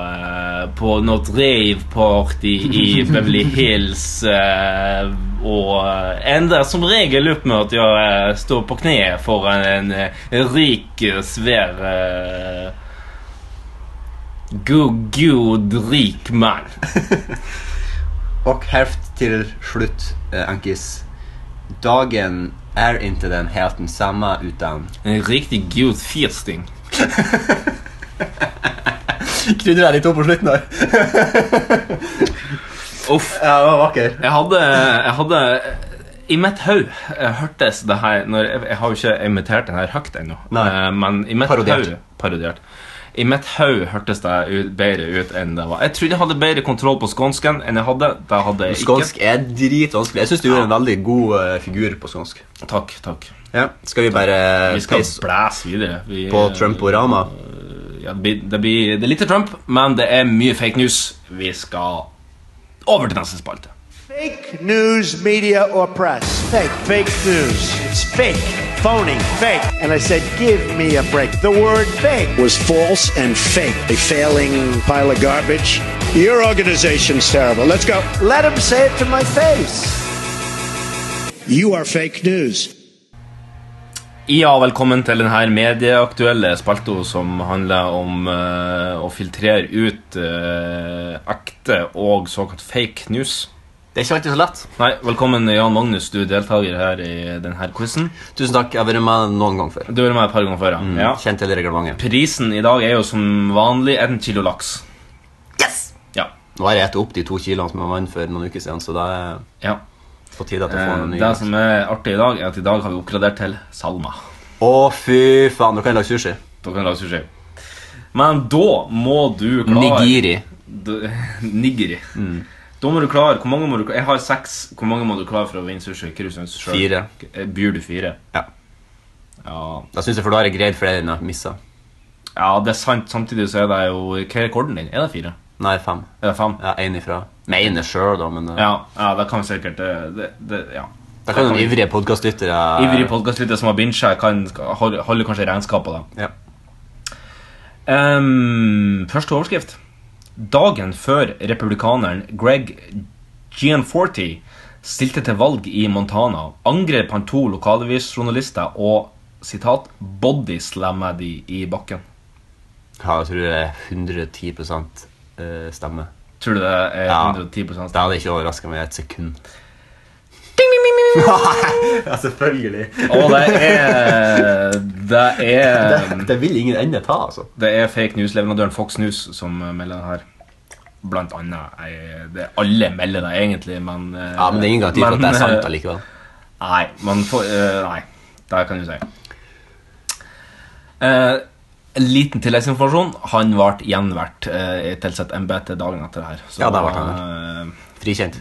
S2: eh, på något raveparty i Beverly Hills. eh, Och ända som regel upp med att jag eh, står på knä för en, en, en rik, eh, svär, eh, god, god, rik man.
S3: Og helt til slutt, eh, Ankis. Dagen er ikke den helt den samme uten
S2: En riktig god firsting.
S3: Krydrer jeg litt opp på slutten her.
S2: Uff.
S3: Ja, det var vakker.
S2: Jeg hadde, jeg hadde I mitt hode hørtes det her når, jeg, jeg har jo ikke imitert den her høyt ennå.
S3: Nei.
S2: eh, Men i mitt
S3: Parodiert.
S2: hode Parodiert. I mitt hode hørtes det ut, bedre ut enn det var. Jeg trodde jeg hadde bedre kontroll på skånsken enn jeg hadde. Det hadde jeg
S3: Skånsk er dritvanskelig. Jeg syns du gjør en veldig god eh, figur på skånsk.
S2: ikke. Takk, takk.
S3: Ja, Skal eh, vi bare eh,
S2: Vi skal
S3: peise
S2: blæse videre. Vi,
S3: på Trumporama?
S2: Ja, det, blir, det, blir, det er lite Trump, men det er mye fake news. Vi skal over til neste spalte.
S7: Fake news, media, or press. Fake. Fake news. It's fake. Phony. Fake. And I said, give me a break. The word fake was false and fake. A failing pile of garbage. Your organization's terrible. Let's go. Let them say it to my face. You are fake news.
S2: Ja, velkommen til denne medieaktuelle spalta som handler om eh, å filtrere ut eh, ekte og såkalt fake news.
S3: Det er ikke alltid så lett.
S2: Nei, velkommen Jan Magnus, du er deltaker her i denne quizen.
S3: Tusen takk. Jeg har vært med noen gang før.
S2: Du har vært med et par ganger før, ja. ja.
S3: Kjent til reglementet.
S2: Prisen i dag er jo som vanlig en kilo laks.
S3: Yes!
S2: Ja.
S3: Nå har jeg spist opp de to kiloene som jeg vant for noen uker siden, så det er
S2: ja.
S3: på tide at jeg får
S2: Eh,
S3: noen nye.
S2: det som er artig i dag, er at i dag har vi oppgradert til Salma.
S3: Å, fy faen. Dere kan lage sushi.
S2: Da kan vi lage sushi. Men da må du klare
S3: Nigiri.
S2: D- Nigeri.
S3: Mm.
S2: Da må du klare Hvor mange må du klare? Jeg har seks. Hvor mange må du klare for å vinne sushi? Hva du synes selv?
S3: Fire.
S2: Eh, Byr du fire?
S3: Ja.
S2: ja.
S3: Da syns jeg for da har jeg greid flere enn jeg missa.
S2: Ja, det er sant. Samtidig så er det jo Hva er rekorden din? Er det fire?
S3: Nei, fem.
S2: Er det fem?
S3: Ja, én ifra. Mener sjøl, da, men eh,
S2: Ja, ja det kan vi sikkert Det, det, det ja.
S3: Da kan
S2: Det
S3: noen
S2: vi-
S3: ivrige podkastlyttere
S2: Ivrige podkastlyttere som har bincha, kan holde holde kanskje regnskap på det.
S3: Ja.
S2: Ehm, første overskrift. Dagen før republikaneren Greg Gianforti stilte til valg i Montana, angrep han to lokalavisjournalister og sitat, 'bodyslamma de i bakken'.
S3: Ja, jeg tror det er 110 eh, stemme.
S2: Tror du det er
S3: Ja.
S2: 110
S3: Det hadde ikke overraska meg et sekund.
S2: Ding, ding, ding, ding, ding.
S3: Ja, selvfølgelig.
S2: Og det er Det
S3: Um,
S2: er
S3: Det vil ingen ende ta, altså.
S2: Det er fake news-leverandøren Fox News som eh, melder det her. Blant annet. eh, det, alle melder det egentlig, men eh,
S3: Ja, Men det er ingen garanti for at det
S2: men,
S3: er
S2: eh,
S3: sant allikevel.
S2: Nei, man får eh, Nei, det kan du si. Eh, en liten tilleggsinformasjon. Han ble gjenvert uh, til sitt embete dagen etter det her. Så,
S3: Ja, det ble han
S2: eh,
S3: Frikjent.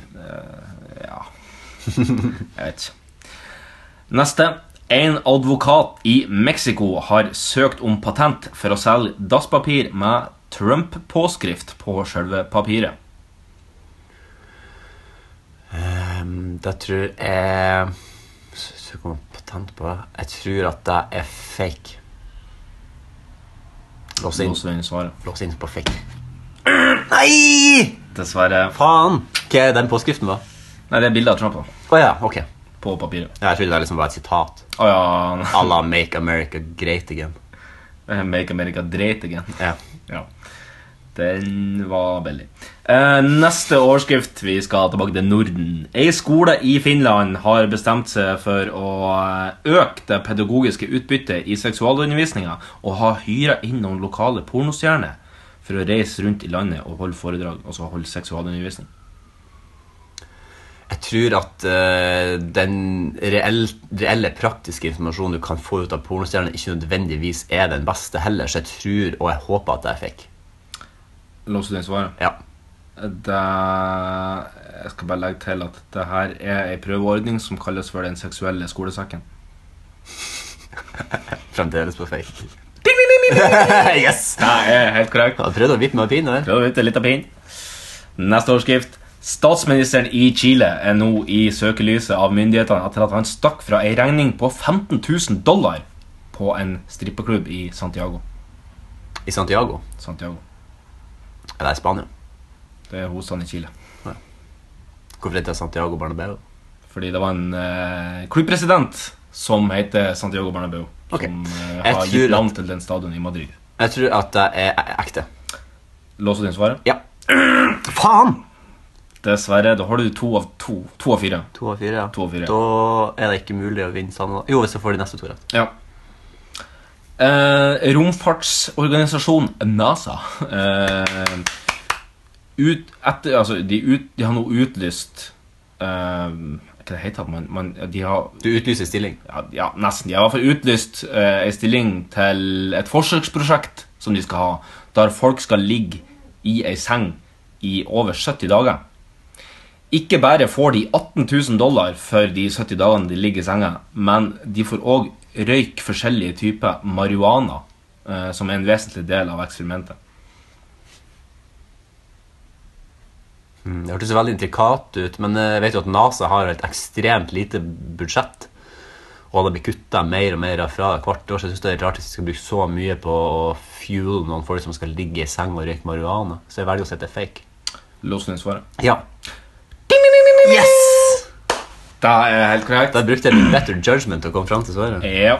S2: ja. Jeg vet ikke. Neste. En advokat i Mexico har søkt om patent for å selge dasspapir med Trump-påskrift på selve papiret.
S3: Um, det tror jeg Søk om patent på det. Jeg tror at det er fake. Lås inn,
S2: Låser vi inn svaret.
S3: Lås inn på fake. Nei!
S2: Dessverre.
S3: Faen! Hva er den påskriften, da?
S2: Nei, det er bilde av Trump da,
S3: Å ja, ok. Ja,
S2: på papiret.
S3: Jeg trodde det liksom var et sitat.
S2: Å ja.
S3: À la Make America Great Again.
S2: Eh, Make America Great Again.
S3: Ja.
S2: Ja. Den var billig. Eh, neste overskrift. Vi skal tilbake til Norden. Ei skole i Finland har bestemt seg for å eh, øke det pedagogiske utbyttet i seksualundervisninga og har hyra inn noen lokale pornostjerner for å reise rundt i landet og holde foredrag, altså holde seksualundervisning.
S3: Jeg tror at eh, den reell, reelle praktiske informasjonen du kan få ut av pornostjerner, ikke nødvendigvis er den beste heller, så jeg tror og jeg håper at det er fake.
S2: Låser du inn svaret?
S3: Ja.
S2: Det, jeg skal bare legge til at det her er ei prøveordning som kalles for Den seksuelle skolesekken.
S3: Fremdeles på fake. yes!
S2: Det er helt korrekt.
S3: Jeg har prøvd å vippe meg av pinnen der.
S2: Prøv ut litt av pinn. Neste overskrift. Statsministeren i Chile er nå i søkelyset av myndighetene etter at han stakk fra ei regning på 15 000 dollar på en strippeklubb i Santiago.
S3: I Santiago.
S2: Santiago.
S3: Eller i Spania.
S2: Det er hovedstaden i Chile.
S3: Hvorfor heter det Santiago Bernabeu?
S2: Fordi det var en eh, klubbpresident som heter Santiago Bernabeu.
S3: Ok.
S2: Som eh,
S3: Jeg
S2: har
S3: tror at-
S2: gitt navn til den stadion i Madrid.
S3: Jeg tror at det er e- ekte.
S2: Låser du inn svaret?
S3: Ja. Faen!
S2: Dessverre. Da har du to av to. To av fire.
S3: To av fire, ja.
S2: To av fire.
S3: Da er det ikke mulig å vinne Sanna. Jo, så får de neste to rett.
S2: Ja. Eh, romfartsorganisasjon NASA eh, ut, etter, altså, de, ut, de har nå utlyst eh, Hva det heter det? Man, man, de har
S3: Du utlyser stilling.
S2: ja, ja, nesten. De har i hvert fall utlyst eh, en stilling til et forsøksprosjekt som de skal ha, der folk skal ligge i ei seng i over 70 dager. Ikke bare får de 18 000 dollar for de 70 dagene de ligger i senga, men de får òg røyk forskjellige typer marihuana, eh, som er en vesentlig del av eksperimentet.
S3: Mm, Det hørtes veldig intrikat ut, men eh, jeg vet jo at NASA har et ekstremt lite budsjett. Og det blir kutta mer og mer fra hvert år, så jeg synes det er rart hvis de skal bruke så mye på å fuel noen folk som skal ligge i seng og røyke marihuana. Så jeg velger å si at det er fake.
S2: Låsen din svaret.
S3: Ja. Yes!
S2: Det er helt korrekt.
S3: Da brukte jeg litt better judgment til å komme fram til svaret.
S2: Ja.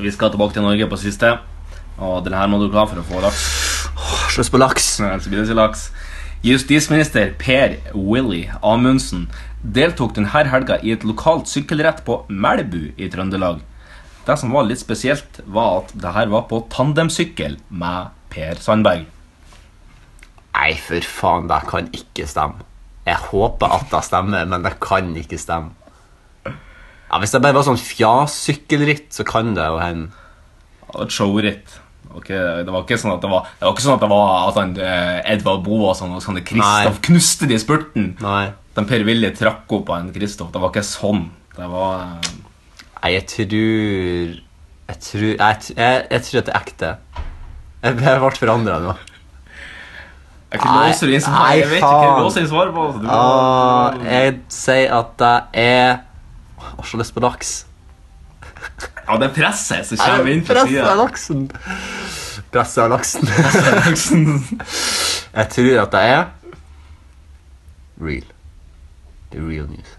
S2: Vi skal tilbake til Norge på siste, og den her må du være klar for å få laks.
S3: Slåss på laks.
S2: Nei, så blir det ikke laks. Justisminister Per Willy Amundsen deltok denne helga i et lokalt sykkelrett på Melbu i Trøndelag. Det som var litt spesielt, var at det her var på tandemsykkel med Per Sandberg.
S3: Nei, for faen, det kan ikke stemme. Jeg håper at det stemmer, men det kan ikke stemme. Ja, Hvis det bare var sånn fjas-sykkelritt, så kan det jo hende.
S2: Det var et showritt. Ok, det var ikke sånn at det var, det var ikke sånn at det var at han, eh, Edvard Boasson og sånne Kristoff
S3: Nei.
S2: knuste de i spurten.
S3: Nei.
S2: Den Per Willy trakk opp av en Kristoff. Det var ikke sånn. Det var... eh,
S3: Nei, jeg tror Jeg tror, jeg, t- jeg, jeg tror at det er ekte. Jeg, jeg ble forandra nå.
S2: Jeg kan
S3: Nei,
S2: låse det inn som
S3: nei,
S2: Jeg vet ikke hva
S3: faen.
S2: jeg låser inn svaret på. altså. Du må-
S3: Ah, jeg sier at det er Åh, Jeg har så lyst på laks.
S2: Ja, det er presset som kommer inn på
S3: Presset av
S2: sida.
S3: laksen. Presset av laksen. jeg tror at det er real. The real news.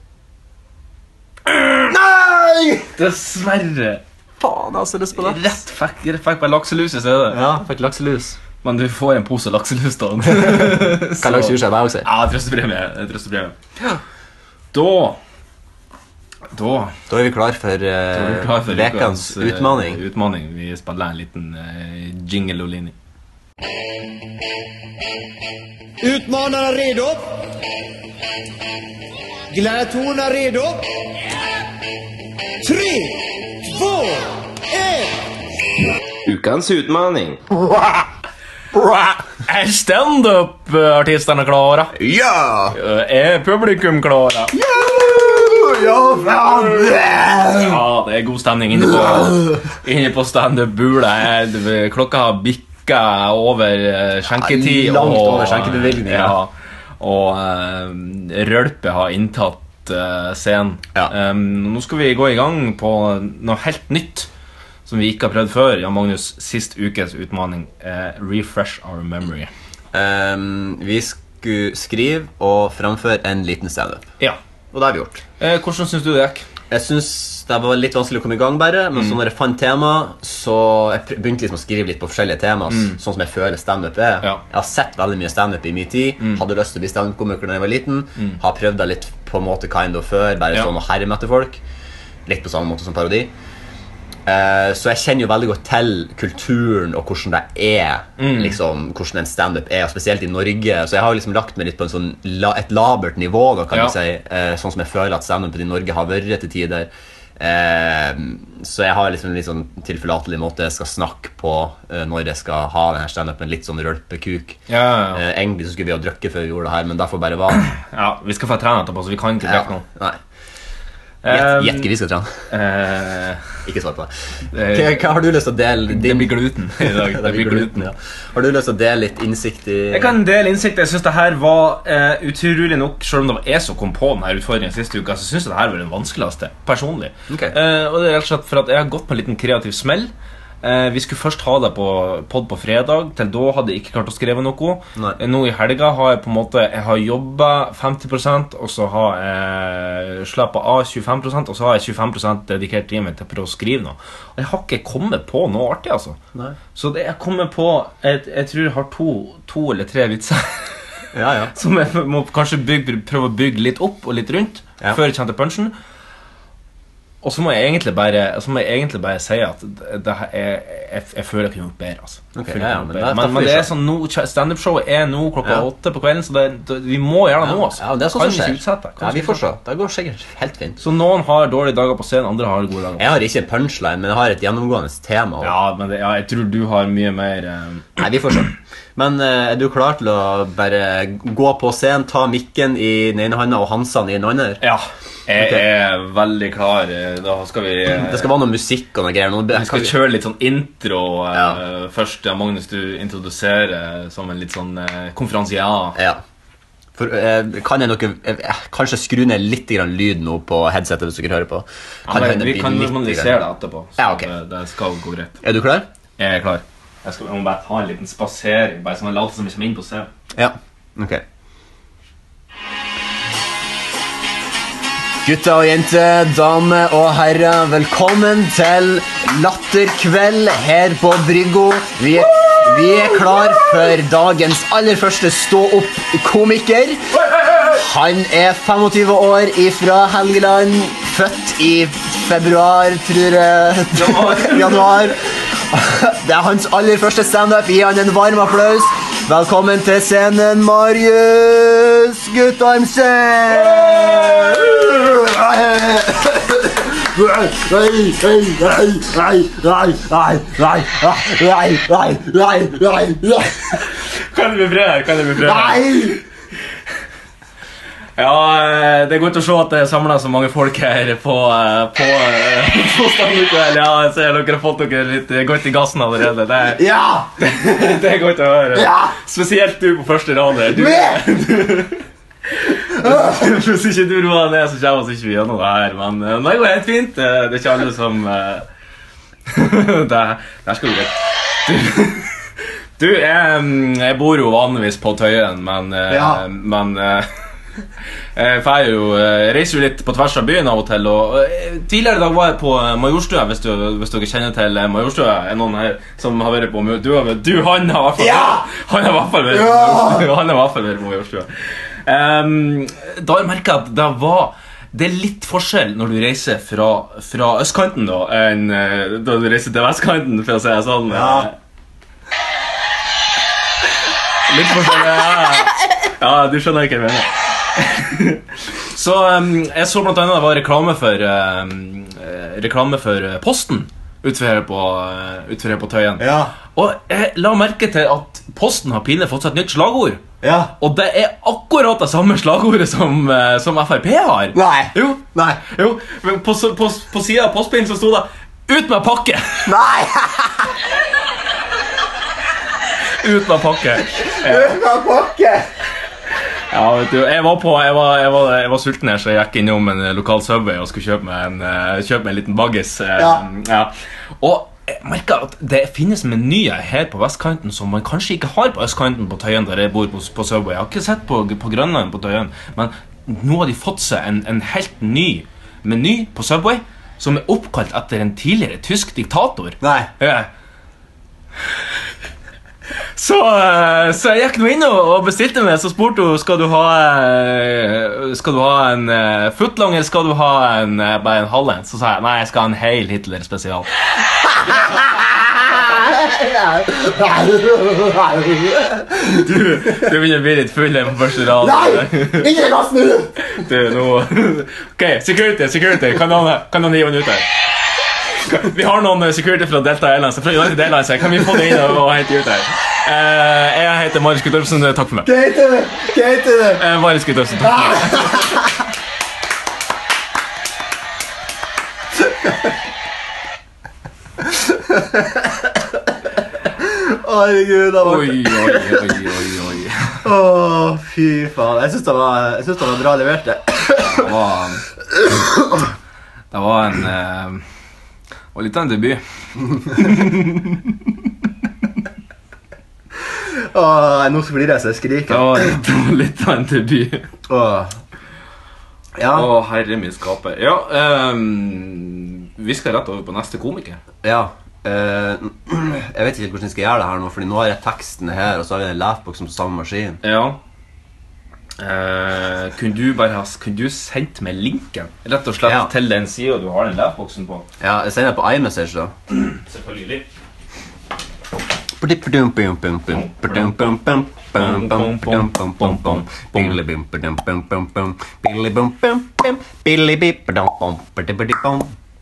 S3: Nei!
S2: Dessverre.
S3: Faen, jeg har så lyst på laks.
S2: Rett fikk, rett fikk bare lakselus i stedet.
S3: Ja, fikk lakselus.
S2: Men du får en pose lakselus, da.
S3: Kan
S2: Så-
S3: lakselus jeg også si?
S2: Ja, trøstepremie. eh, trøstepremie. Da Da
S3: Da er vi klar for
S2: er vi klar for
S3: eh,
S2: ukas,
S3: ukens
S2: eh,
S3: utfordring.
S2: utmaning. Vi spiller en liten eh, jingle og linje.
S8: Utmanaren redo? Gladiatorerna redo? Tre, två, ett!
S9: Ukens utmaning.
S2: Er standup-artistene klare? Eh,
S3: Ja!
S2: Er publikum klare? Ja, det er god stemning inne på, inne på standup-bula. her. Det- Klokka har bikka over eh, skjenketid.
S3: Ja, langt
S2: og-
S3: over skjenkebevilgningen, ja.
S2: Ja, og eh, rølpe har inntatt eh, scenen.
S3: Ja.
S2: Eh, nå skal vi gå i gang på noe helt nytt som vi ikke har prøvd før. Jan Magnus, sist ukes utfordring. refresh our memory.
S3: Ehm, vi skulle skrive og fremføre en liten standup.
S2: Ja.
S3: Og det har vi gjort.
S2: Eh, hvordan syns du det gikk?
S3: Jeg synes Det var litt vanskelig å komme i gang, bare men
S2: Mm.
S3: så når jeg fant tema, så jeg pr- begynte liksom å skrive litt på forskjellige tema. s- Sånn som jeg føler standup er.
S2: Mm. Ja. Mm.
S3: Jeg har sett veldig mye standup i min tid. Hadde lyst til å bli standup-komiker da jeg var liten. Har prøvd det litt på en måte kind of før, bare
S2: Ja.
S3: sånn å herme etter folk. Litt på samme måte som parodi. Eh, så jeg kjenner jo veldig godt til kulturen og hvordan det er.
S2: Mm.
S3: Liksom, hvordan en standup er, og spesielt i Norge. Så jeg har jo liksom lagt meg litt på en sånn, la, et labert nivå, da, kan
S2: Ja.
S3: du si. Eh, sånn som jeg føler at standupen i Norge har vært til tider. Eh, så jeg har liksom en litt sånn tilforlatelig måte jeg skal snakke på eh, når jeg skal ha denne standupen. Litt sånn rølpekuk.
S2: Ja, ja, ja.
S3: Eh, egentlig så skulle vi ha drukket før vi gjorde det her, men det får bare være.
S2: Ja, Vi skal få trene etterpå, så vi kan ikke
S3: Ja,
S2: drikke nå.
S3: nei. Gjett
S2: Um,
S3: gjett hva vi skal trene.
S2: Eh,
S3: Ikke svar på det.
S2: Det-
S3: Hva, hva har du lyst til å dele?
S2: Eh,
S3: din-
S2: Det blir gluten i dag.
S3: det blir gluten, ja. Har du lyst til å dele litt innsikt i
S2: Jeg kan dele innsikt. Jeg syns det her var eh, utrolig nok Selv om det var jeg som kom på denne utfordringen siste uka, så syns jeg det her var den vanskeligste. Personlig.
S3: Ok.
S2: Eh, og det er rett og slett for at jeg har gått på en liten kreativ smell. Eh, vi skulle først ha det på pod på fredag. Til da hadde jeg ikke klart å skrive noe.
S3: Nei.
S2: Eh, Nå i helga har jeg på en måte Jeg har jobba 50 og så har jeg slappa av 25 og så har jeg 25 dedikert tiden min til å prøve å skrive noe. Og jeg har ikke kommet på noe artig, altså.
S3: Nei.
S2: Så det, jeg kommer på Jeg, jeg tror jeg har to, to eller tre vitser
S3: Ja, ja.
S2: som jeg må kanskje bygge, prøve å bygge litt opp og litt rundt
S3: Ja.
S2: før jeg kommer til punchen. Og så må jeg egentlig bare, så må jeg egentlig bare si at det, det her er, jeg, jeg føler jeg kunne gjort bedre. Altså. Jeg
S3: Ok,
S2: føler jeg kunne
S3: ja, ja,
S2: gjort
S3: men
S2: bedre.
S3: da- da
S2: men,
S3: får vi
S2: men det er
S3: se.
S2: sånn nå, standup-showet er nå klokka
S3: Ja.
S2: åtte på kvelden, så det, det, vi må gjøre det nå. Altså.
S3: Ja, men det er sånn
S2: kan
S3: som skjer.
S2: ikke utsette. kan
S3: Ja, vi
S2: ikke
S3: får
S2: utsette.
S3: se. Det går sikkert helt fint.
S2: Så noen har dårlige dager på scenen, andre har gode dager.
S3: Jeg har ikke punchline, men jeg har et gjennomgående tema. og-
S2: Ja, men det, ja, jeg tror du har mye mer eh,
S3: Nei, vi får se. Men eh, er du klar til å bare gå på scenen, ta mikken i den ene handa og Hansan i den andre?
S2: Ja. Jeg
S3: Ok.
S2: er veldig klar. eh, Da skal vi eh,
S3: Det skal være noe musikk og noe greier. Noe,
S2: Vi skal kjøre litt sånn intro eh,
S3: Ja.
S2: først. Ja, Magnus, du introduserer som en litt sånn eh, konferansier.
S3: Ja. For, eh, kan jeg noe, eh, kanskje skru ned litt grann lyd nå på headsetet hvis dere hører på?
S2: Ja, men
S3: hende
S2: vi
S3: bli
S2: kan
S3: litt
S2: normalisere
S3: grann-
S2: det etterpå. Så
S3: Ja, ok.
S2: det, det skal gå greit.
S3: Er du klar?
S2: Jeg er klar. Jeg, skal, jeg må bare ta en liten spasering. Bare sånn late som vi kommer inn på scenen.
S3: Ja. Ok. Gutter og jenter, damer og herrer, velkommen til Latterkveld her på Bryggo. Vi er, vi er klar for dagens aller første stå-opp-komiker. Han er 25 år ifra Helgeland, født i februar, tror jeg. Januar. Det er hans aller første standup. Gi han en varm applaus. Velkommen til scenen, Marius Guttormsen!
S2: Kan det bli bra her? Kan det bli bra her? Ja, eh, det er godt å se at det er samla så mange folk her på, eh, på, eh, på Standup-kveld. Ja, jeg ser dere har fått dere litt eh, godt i gassen allerede. Det er,
S3: Ja!
S2: det er godt å høre.
S3: Ja!
S2: Spesielt du på første rad. her. Du,
S3: Med!
S2: Hvis ikke du roer deg ned, så kommer vi ikke gjennom det her. Men eh, det går helt fint. Eh, Det er ikke alle som eh, det, Der skal du rett. Du, du jeg, mm, jeg bor jo vanligvis på Tøyen, men, eh,
S3: Ja.
S2: men eh, jeg fær jo, eh, reiser jo litt på tvers av byen av og til. Og, eh, tidligere i dag var jeg på eh, Majorstua, hvis, du, hvis dere kjenner til eh, Majorstua. Er noen her som har vært på Major- Du, har vært- du han har i hvert fall
S3: Ja!
S2: Han har i hvert fall vært på Majorstua. Han har i hvert fall vært på Majorstua. Ehm, da har jeg merka at det var det er litt forskjell når du reiser fra, fra østkanten da, enn eh, da du reiser til vestkanten, for å si det sånn.
S3: Ja.
S2: Litt forskjell, ja. Ja, du skjønner ikke hva jeg mener. Så um, jeg så blant annet det var reklame for um, eh, Reklame for eh, Posten utenfor her på, eh, utenfor her på Tøyen.
S3: Ja.
S2: Og jeg la merke til at Posten har pinlig fått seg et nytt slagord.
S3: Ja.
S2: Og det er akkurat det samme slagordet som, eh, som Frp har.
S3: Nei.
S2: Jo.
S3: Nei.
S2: jo. Men På, s- på, s- på sida av postbilen så sto det 'Ut med pakke'!
S3: Nei!
S2: Ut med pakke.
S3: Hva pakke?
S2: Ja, vet du, jeg var, på, jeg, var, jeg, var, jeg var sulten her, så jeg gikk innom en eh, lokal Subway og skulle kjøpe meg en, eh, kjøpe meg en liten baggis. eh,
S3: Ja.
S2: ja. Og jeg merka at det finnes menyer her på vestkanten som man kanskje ikke har på østkanten på Tøyen, der jeg bor på, på Subway. Jeg har ikke sett på, på Grønland på Tøyen, men nå har de fått seg en, en helt ny meny på Subway som er oppkalt etter en tidligere tysk diktator.
S3: Nei.
S2: Ja. Så, eh, så jeg gikk nå inn og og bestilte meg, så spurte hun skal du ha, eh, skal du ha en eh, footlong eller skal du ha en, eh, bare en halv en. Så sa jeg nei, jeg skal ha en hel Hitler spesial. Du, du begynner å bli litt full her på første rad.
S3: Ikke kast den ut!
S2: Du, nå OK, security, security. Kan noen, kan noen hive den ut her? Vi har noen eh, security fra Delta Airlines. Fra United Airlines her. Kan vi få det inn og og hente ut her? Eh, jeg heter Marius Guttormsen. Eh, Takk for meg.
S3: Hva heter det? Hva heter det?
S2: Eh, Marius Guttormsen, takk for meg.
S3: Herregud, det var
S2: Oi, oi, oi, oi, oi.
S3: Å, fy faen. Jeg syns det, var- jeg syns det var bra levert, det.
S2: Det var Det var en eh, Det var litt av en debut.
S3: Å, nå flirer jeg så jeg
S2: Det
S3: skriker.
S2: var litt, litt av en debut.
S3: Å.
S2: Å,
S3: Ja.
S2: herre min skaper. Ja, ehm, vi skal rett over på neste komiker.
S3: ja. Eh, jeg vet ikke helt hvordan jeg skal gjøre det her nå, Fordi nå har jeg tekstene her, og så har vi den lapboxen på samme maskin.
S2: Ja. Eh, kunne du bare ha Kunne du sendt meg linken Rett og slett
S3: Ja.
S2: til den sida du har den lapboksen på?
S3: Ja, Jeg sender det på iMessage, da.
S2: Selvfølgelig.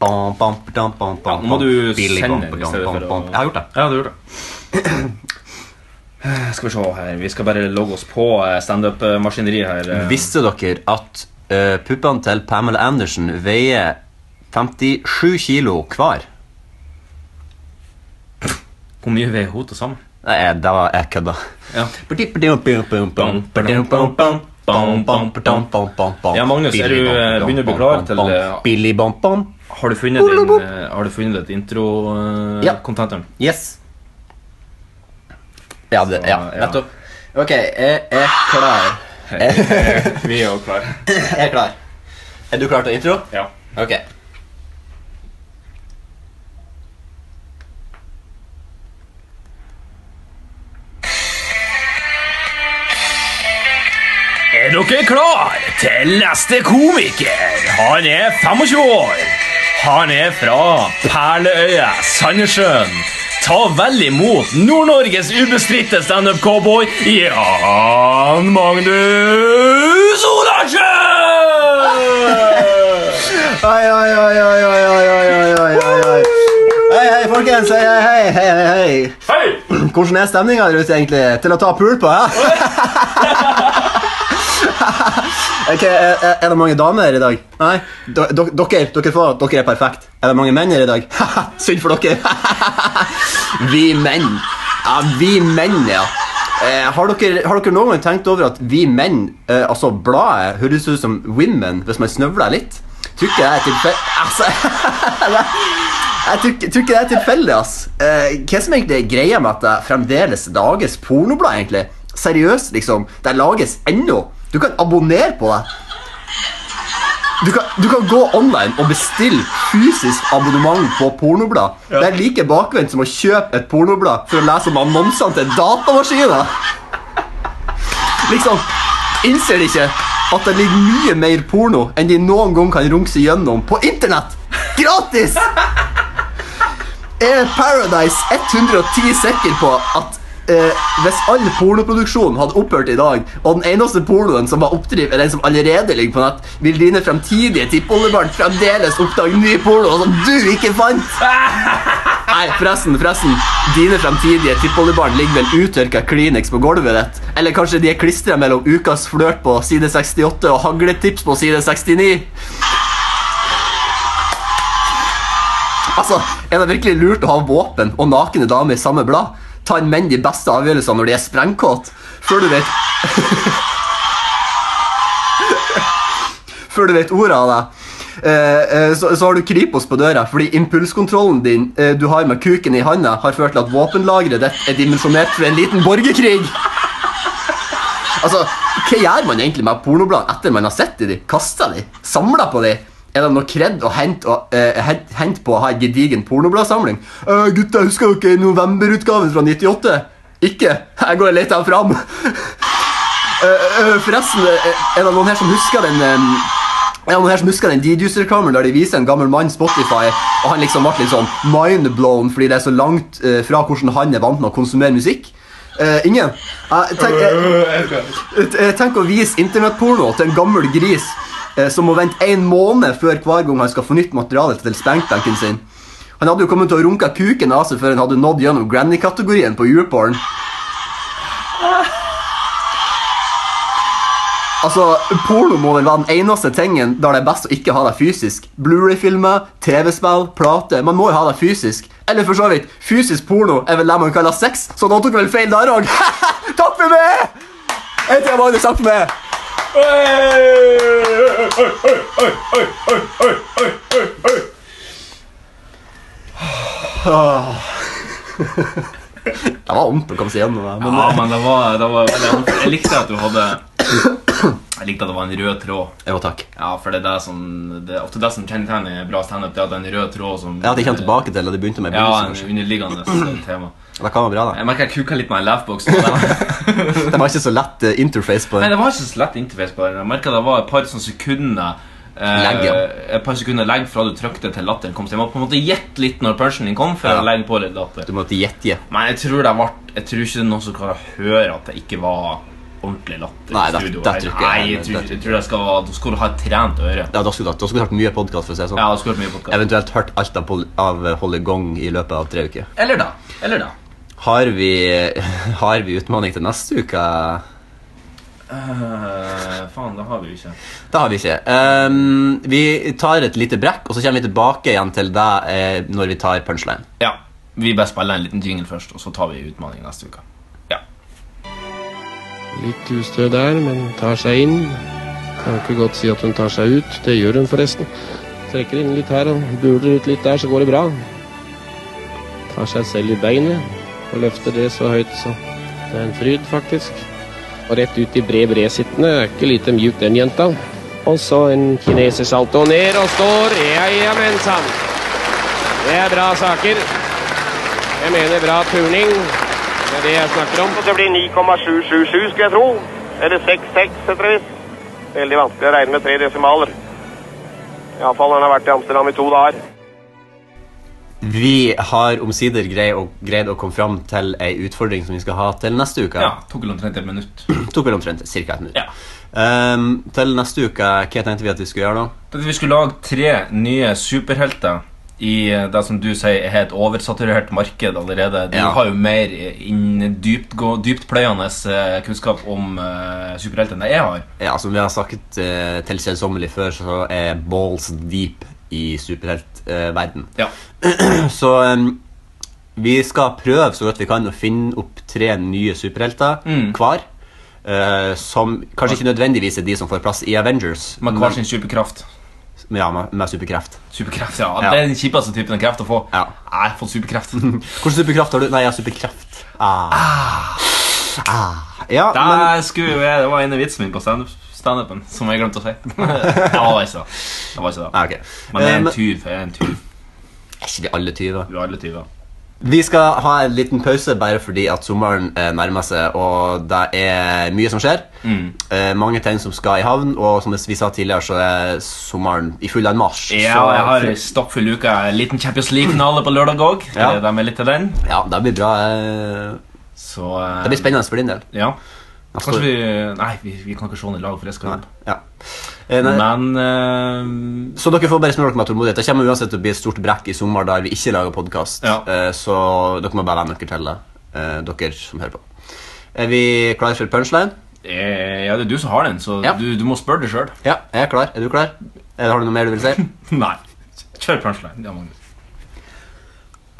S2: Ja, nå må du sende den i stedet for å
S3: Jeg har gjort det.
S2: Ja, du gjorde det. Eh, Skal vi se her Vi skal bare logge oss på eh, standup-maskineriet her. eh.
S3: Visste dere at eh, puppene til Pamela Andersen veier 57 kilo hver?
S2: Hvor mye veier hun til sammen?
S3: Nei, jeg- det var jeg kødda.
S2: Ja. Ja,
S3: Ja,
S2: Magnus, er du, eh, begynner å bli klar til, eh,
S3: Billy Bom Bom?
S2: Har du funnet din eh, Har du funnet ditt intro eh,
S3: Ja.
S2: contenteren?
S3: Yes. Ja, det, ja,
S2: ja.
S3: nettopp. Ok, jeg er klar.
S2: Vi er jo klare.
S3: Jeg er klar. Er du klar til intro?
S2: Ja.
S3: Ok.
S2: Er dere klar til neste komiker? Han er 25 år. Han er fra Perleøya, Sandnessjøen. Ta vel imot Nord-Norges ubestridte standup-cowboy Jan Magnus Olavsen!
S3: Oi, oi, oi, oi, oi, oi, oi, oi, oi, oi, oi. Hei, hei, folkens. Hei, hei, hei, hei, hei, hei.
S2: Hei!
S3: Hvordan er stemninga der ute, egentlig? Til å ta pul på, hæ? Ok, er, er- er det mange damer her i dag? Nei? Do, do, dere, dere får, dere er perfekt. Er det mange menn her i dag? Synd for dere. vi menn. Ja, vi menn, ja. Eh, har, dere, har dere noen gang tenkt over at vi menn, eh, altså bladet, høres ut som women hvis man snøvler litt? Tror ikke det er tilfell... Altså, jeg tror ikke- tror ikke det er tilfeldig, ass. Eh, hva som egentlig er greia med at det fremdeles lages pornoblad, egentlig? Seriøst, liksom. Det lages ennå. Du kan abonnere på det. Du kan, du kan gå online og bestille fysisk abonnement på pornoblad. Det er like bakvendt som å kjøpe et pornoblad for å lese om annonsene til datamaskiner. Liksom, innser de ikke at det ligger mye mer porno enn de noen gang kan rumse gjennom på internett? Gratis! Er Paradise 110 sikker på at eh, hvis all pornoproduksjon hadde opphørt i dag, og den eneste pornoen som var oppdriv, er den som allerede ligger på nett, vil dine fremtidige tippoldebarn fremdeles oppdage ny porno som du ikke fant? Nei, forresten, forresten. Dine fremtidige tippoldebarn ligger med en uttørka Kleenex på gulvet ditt. Eller kanskje de er klistra mellom Ukas flørt på side 68 og Hagletips på side 69. Altså, Er det virkelig lurt å ha våpen og nakne damer i samme blad? Ta en menn de beste avgjørelsene når de er sprengkåte, før du vet før du vet ordet av det. Eh, eh, så, så har du Kripos på døra fordi impulskontrollen din eh, du har med kuken i handa, har ført til at våpenlageret ditt er dimensjonert for en liten borgerkrig. Altså, Hva gjør man egentlig med pornoblad etter man har sett i de? Kaster de? Samler på de? Er det noe kred å hente, å, eh, hen- hente på å ha en gedigen pornobladsamling? Uh, gutta, husker dere novemberutgaven fra 98? Ikke? Jeg går og leter den fram. Eh, eh, forresten, eh, er det noen her som husker den eh, er det noen her som husker den D-Juice-reklamen der de viser en gammel mann Spotify, og han liksom ble litt sånn mindblown fordi det er så langt eh, fra hvordan han er vant med å konsumere musikk? Eh, ingen? Eh, tenk, eh, eh, tenk å vise internettporno til en gammel gris eh, som må vente en måned før hver gang han skal få nytt materiale til spankbenken sin. Han hadde jo kommet til å runke kuken av seg før han hadde nådd gjennom granny-kategorien på YouPorn. Altså, Porno må vel være den eneste tingen der det er best å ikke ha det fysisk. Blu-ray-filmer, TV-spill, plater. Man må jo ha det fysisk. Eller for så vidt, fysisk porno er vel det man kaller sex, så da tok vel feil der òg. Takk for meg! Jeg heter Magnus. Takk for meg. Det var vondt å komme seg gjennom det. Men
S2: Ja, men det var, det var veldig ordentlig. Jeg likte at du hadde Jeg likte at det var en rød tråd.
S3: Jo, takk.
S2: Ja, for det er det som Det er ofte det som kjennetegner bra standup, det at det er en rød tråd som
S3: Jeg hadde ikke kommet tilbake til det det begynte med.
S2: Ja,
S3: begynnelsen,
S2: en
S3: kanskje.
S2: underliggende tema.
S3: Det kan være bra, da.
S2: Jeg merker jeg kuka litt med en laughbox. på den.
S3: Det var ikke så lett eh, interface på
S2: Nei,
S3: det.
S2: det var ikke så lett interface på den. Jeg merket det var et par sånne sekunder eh,
S3: Legg, ja.
S2: Et par sekunder legg fra du trykte til latteren kom. Så jeg må på en måte gjette litt når punchen din kom, før
S3: Ja.
S2: jeg legger på litt latter.
S3: Du måtte gjette.
S2: Men jeg tror, det ble, jeg tror ikke det er noen som klarer å høre at det ikke var ordentlig latter.
S3: Nei,
S2: i
S3: det-
S2: studio.
S3: det tror ikke jeg.
S2: Nei, jeg tror,
S3: Det-
S2: jeg tror det skal være, da skal du ha et trent øre.
S3: Ja, da skulle du hatt- da skulle du hørt mye podkast.
S2: Ja,
S3: sånn.
S2: det skulle vært mye podcast.
S3: Eventuelt hørt alt av, pol- av eh, Holly Gong i løpet av tre uker.
S2: Eller da. Eller da.
S3: Har vi, har vi utfordring til neste uke?
S2: Eh, faen, det har vi jo ikke.
S3: Det har vi ikke. Ehm, vi tar et lite brekk, og så kommer vi tilbake igjen til deg eh, når vi tar punchline.
S2: Ja, vi bare spiller en liten jingle først, og så tar vi utfordringen neste uke. Ja.
S10: Litt ustø der, men tar seg inn. Kan ikke godt si at hun tar seg ut. Det gjør hun forresten. Trekker inn litt her og buler ut litt der, så går det bra. Tar seg selv i beinet og løfter det så høyt, så det er en fryd, faktisk. Og rett ut i bred bred sittende. Er ikke lite mjuk, den jenta. Og så en kinesersalto ned og står. Ja, ja, men sann. Det er bra saker. Jeg mener bra turning. Det er det jeg snakker om.
S11: Det blir 9,777, skulle jeg tro. Eller 66, etter hvert. Veldig vanskelig å regne med tre desimaler. Iallfall når han har vært i Amsterdam i to dager.
S3: Vi har omsider greid å, greid å komme fram til ei utfordring som vi skal ha til neste uke.
S2: ja. Tok vel omtrent et minutt.
S3: Tok vel omtrent cirka et minutt. Ehm, til neste uke, hva tenkte vi at vi skulle gjøre da?
S2: At vi skulle lage tre nye superhelter i eh, det som du sier er et oversaturert marked allerede. Du
S3: Ja.
S2: har jo mer inn dyptgå- dyptpløyende eh, kunnskap om eh, superhelter enn det jeg har.
S3: Ja, Som altså, vi har sagt eh, til kjedsommelig før, så er balls deep i superheltverden.
S2: Ja.
S3: så em, vi skal prøve så godt vi kan å finne opp tre nye superhelter
S2: Mm.
S3: hver. eh, som kanskje ikke nødvendigvis er de som får plass i Avengers.
S2: Med hver sin superkraft.
S3: men- ja, med, med superkreft.
S2: Superkraft, ja.
S3: Ja.
S2: Det er den kjipeste typen av kreft å få.
S3: Ja.
S2: Jeg har fått superkraft.
S3: Hvilken superkraft har du? Nei, jeg har superkreft. Ah. Ah. Ja,
S2: Det,
S3: men
S2: skulle, jeg- det var en av vitsen min på stand- standupen som jeg glemte å si. det var ikke det. det, var ikke det.
S3: Nei, ok.
S2: Men det er
S3: Eh,
S2: en
S3: men-
S2: tyv. Jeg er en tyv.
S3: Er ikke vi alle tyver?
S2: Vi er alle tyver.
S3: Vi skal ha en liten pause bare fordi at sommeren eh, nærmer seg, og det er mye som skjer.
S2: Mm.
S3: Eh, mange ting som skal i havn, og som vi sa tidligere, så er sommeren i full en marsj.
S2: Ja,
S3: så,
S2: og jeg har stoppfull uke. En liten Champions League-finale på lørdag òg.
S3: Ja.
S2: De er litt til den.
S3: Ja, det blir bra. Eh,
S2: Så eh,
S3: det blir spennende for din del.
S2: Ja.
S3: Neste
S2: Kanskje
S3: år.
S2: vi Nei, vi, vi kan ikke se den i lag, for jeg skal jobbe.
S3: Ja. Eh, nei,
S2: Men eh,
S3: så dere får bare smøre dere med tålmodighet. Det kommer uansett til å bli et stort brekk i sommer der vi ikke lager podkast,
S2: Ja.
S3: eh, så dere må bare venne dere til det, eh, dere som hører på. Er vi klare for punchline?
S2: eh, Ja, det er du som har den, så
S3: Ja.
S2: du, du må spørre deg sjøl.
S3: Ja, jeg er klar. Er du klar? Eller Eh, har du noe mer du vil si?
S2: Nei. Kjør punchline. Ja, Magnus.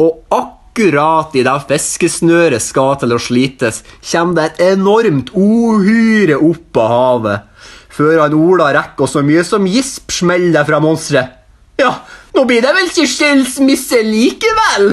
S3: Og akkurat i det fiskesnøret skal til å slites, kommer det et enormt uhyre opp av havet. Før han Ola rekker så mye som gisp smeller fra monsteret. Ja, nå blir det vel ikke skilsmisse likevel?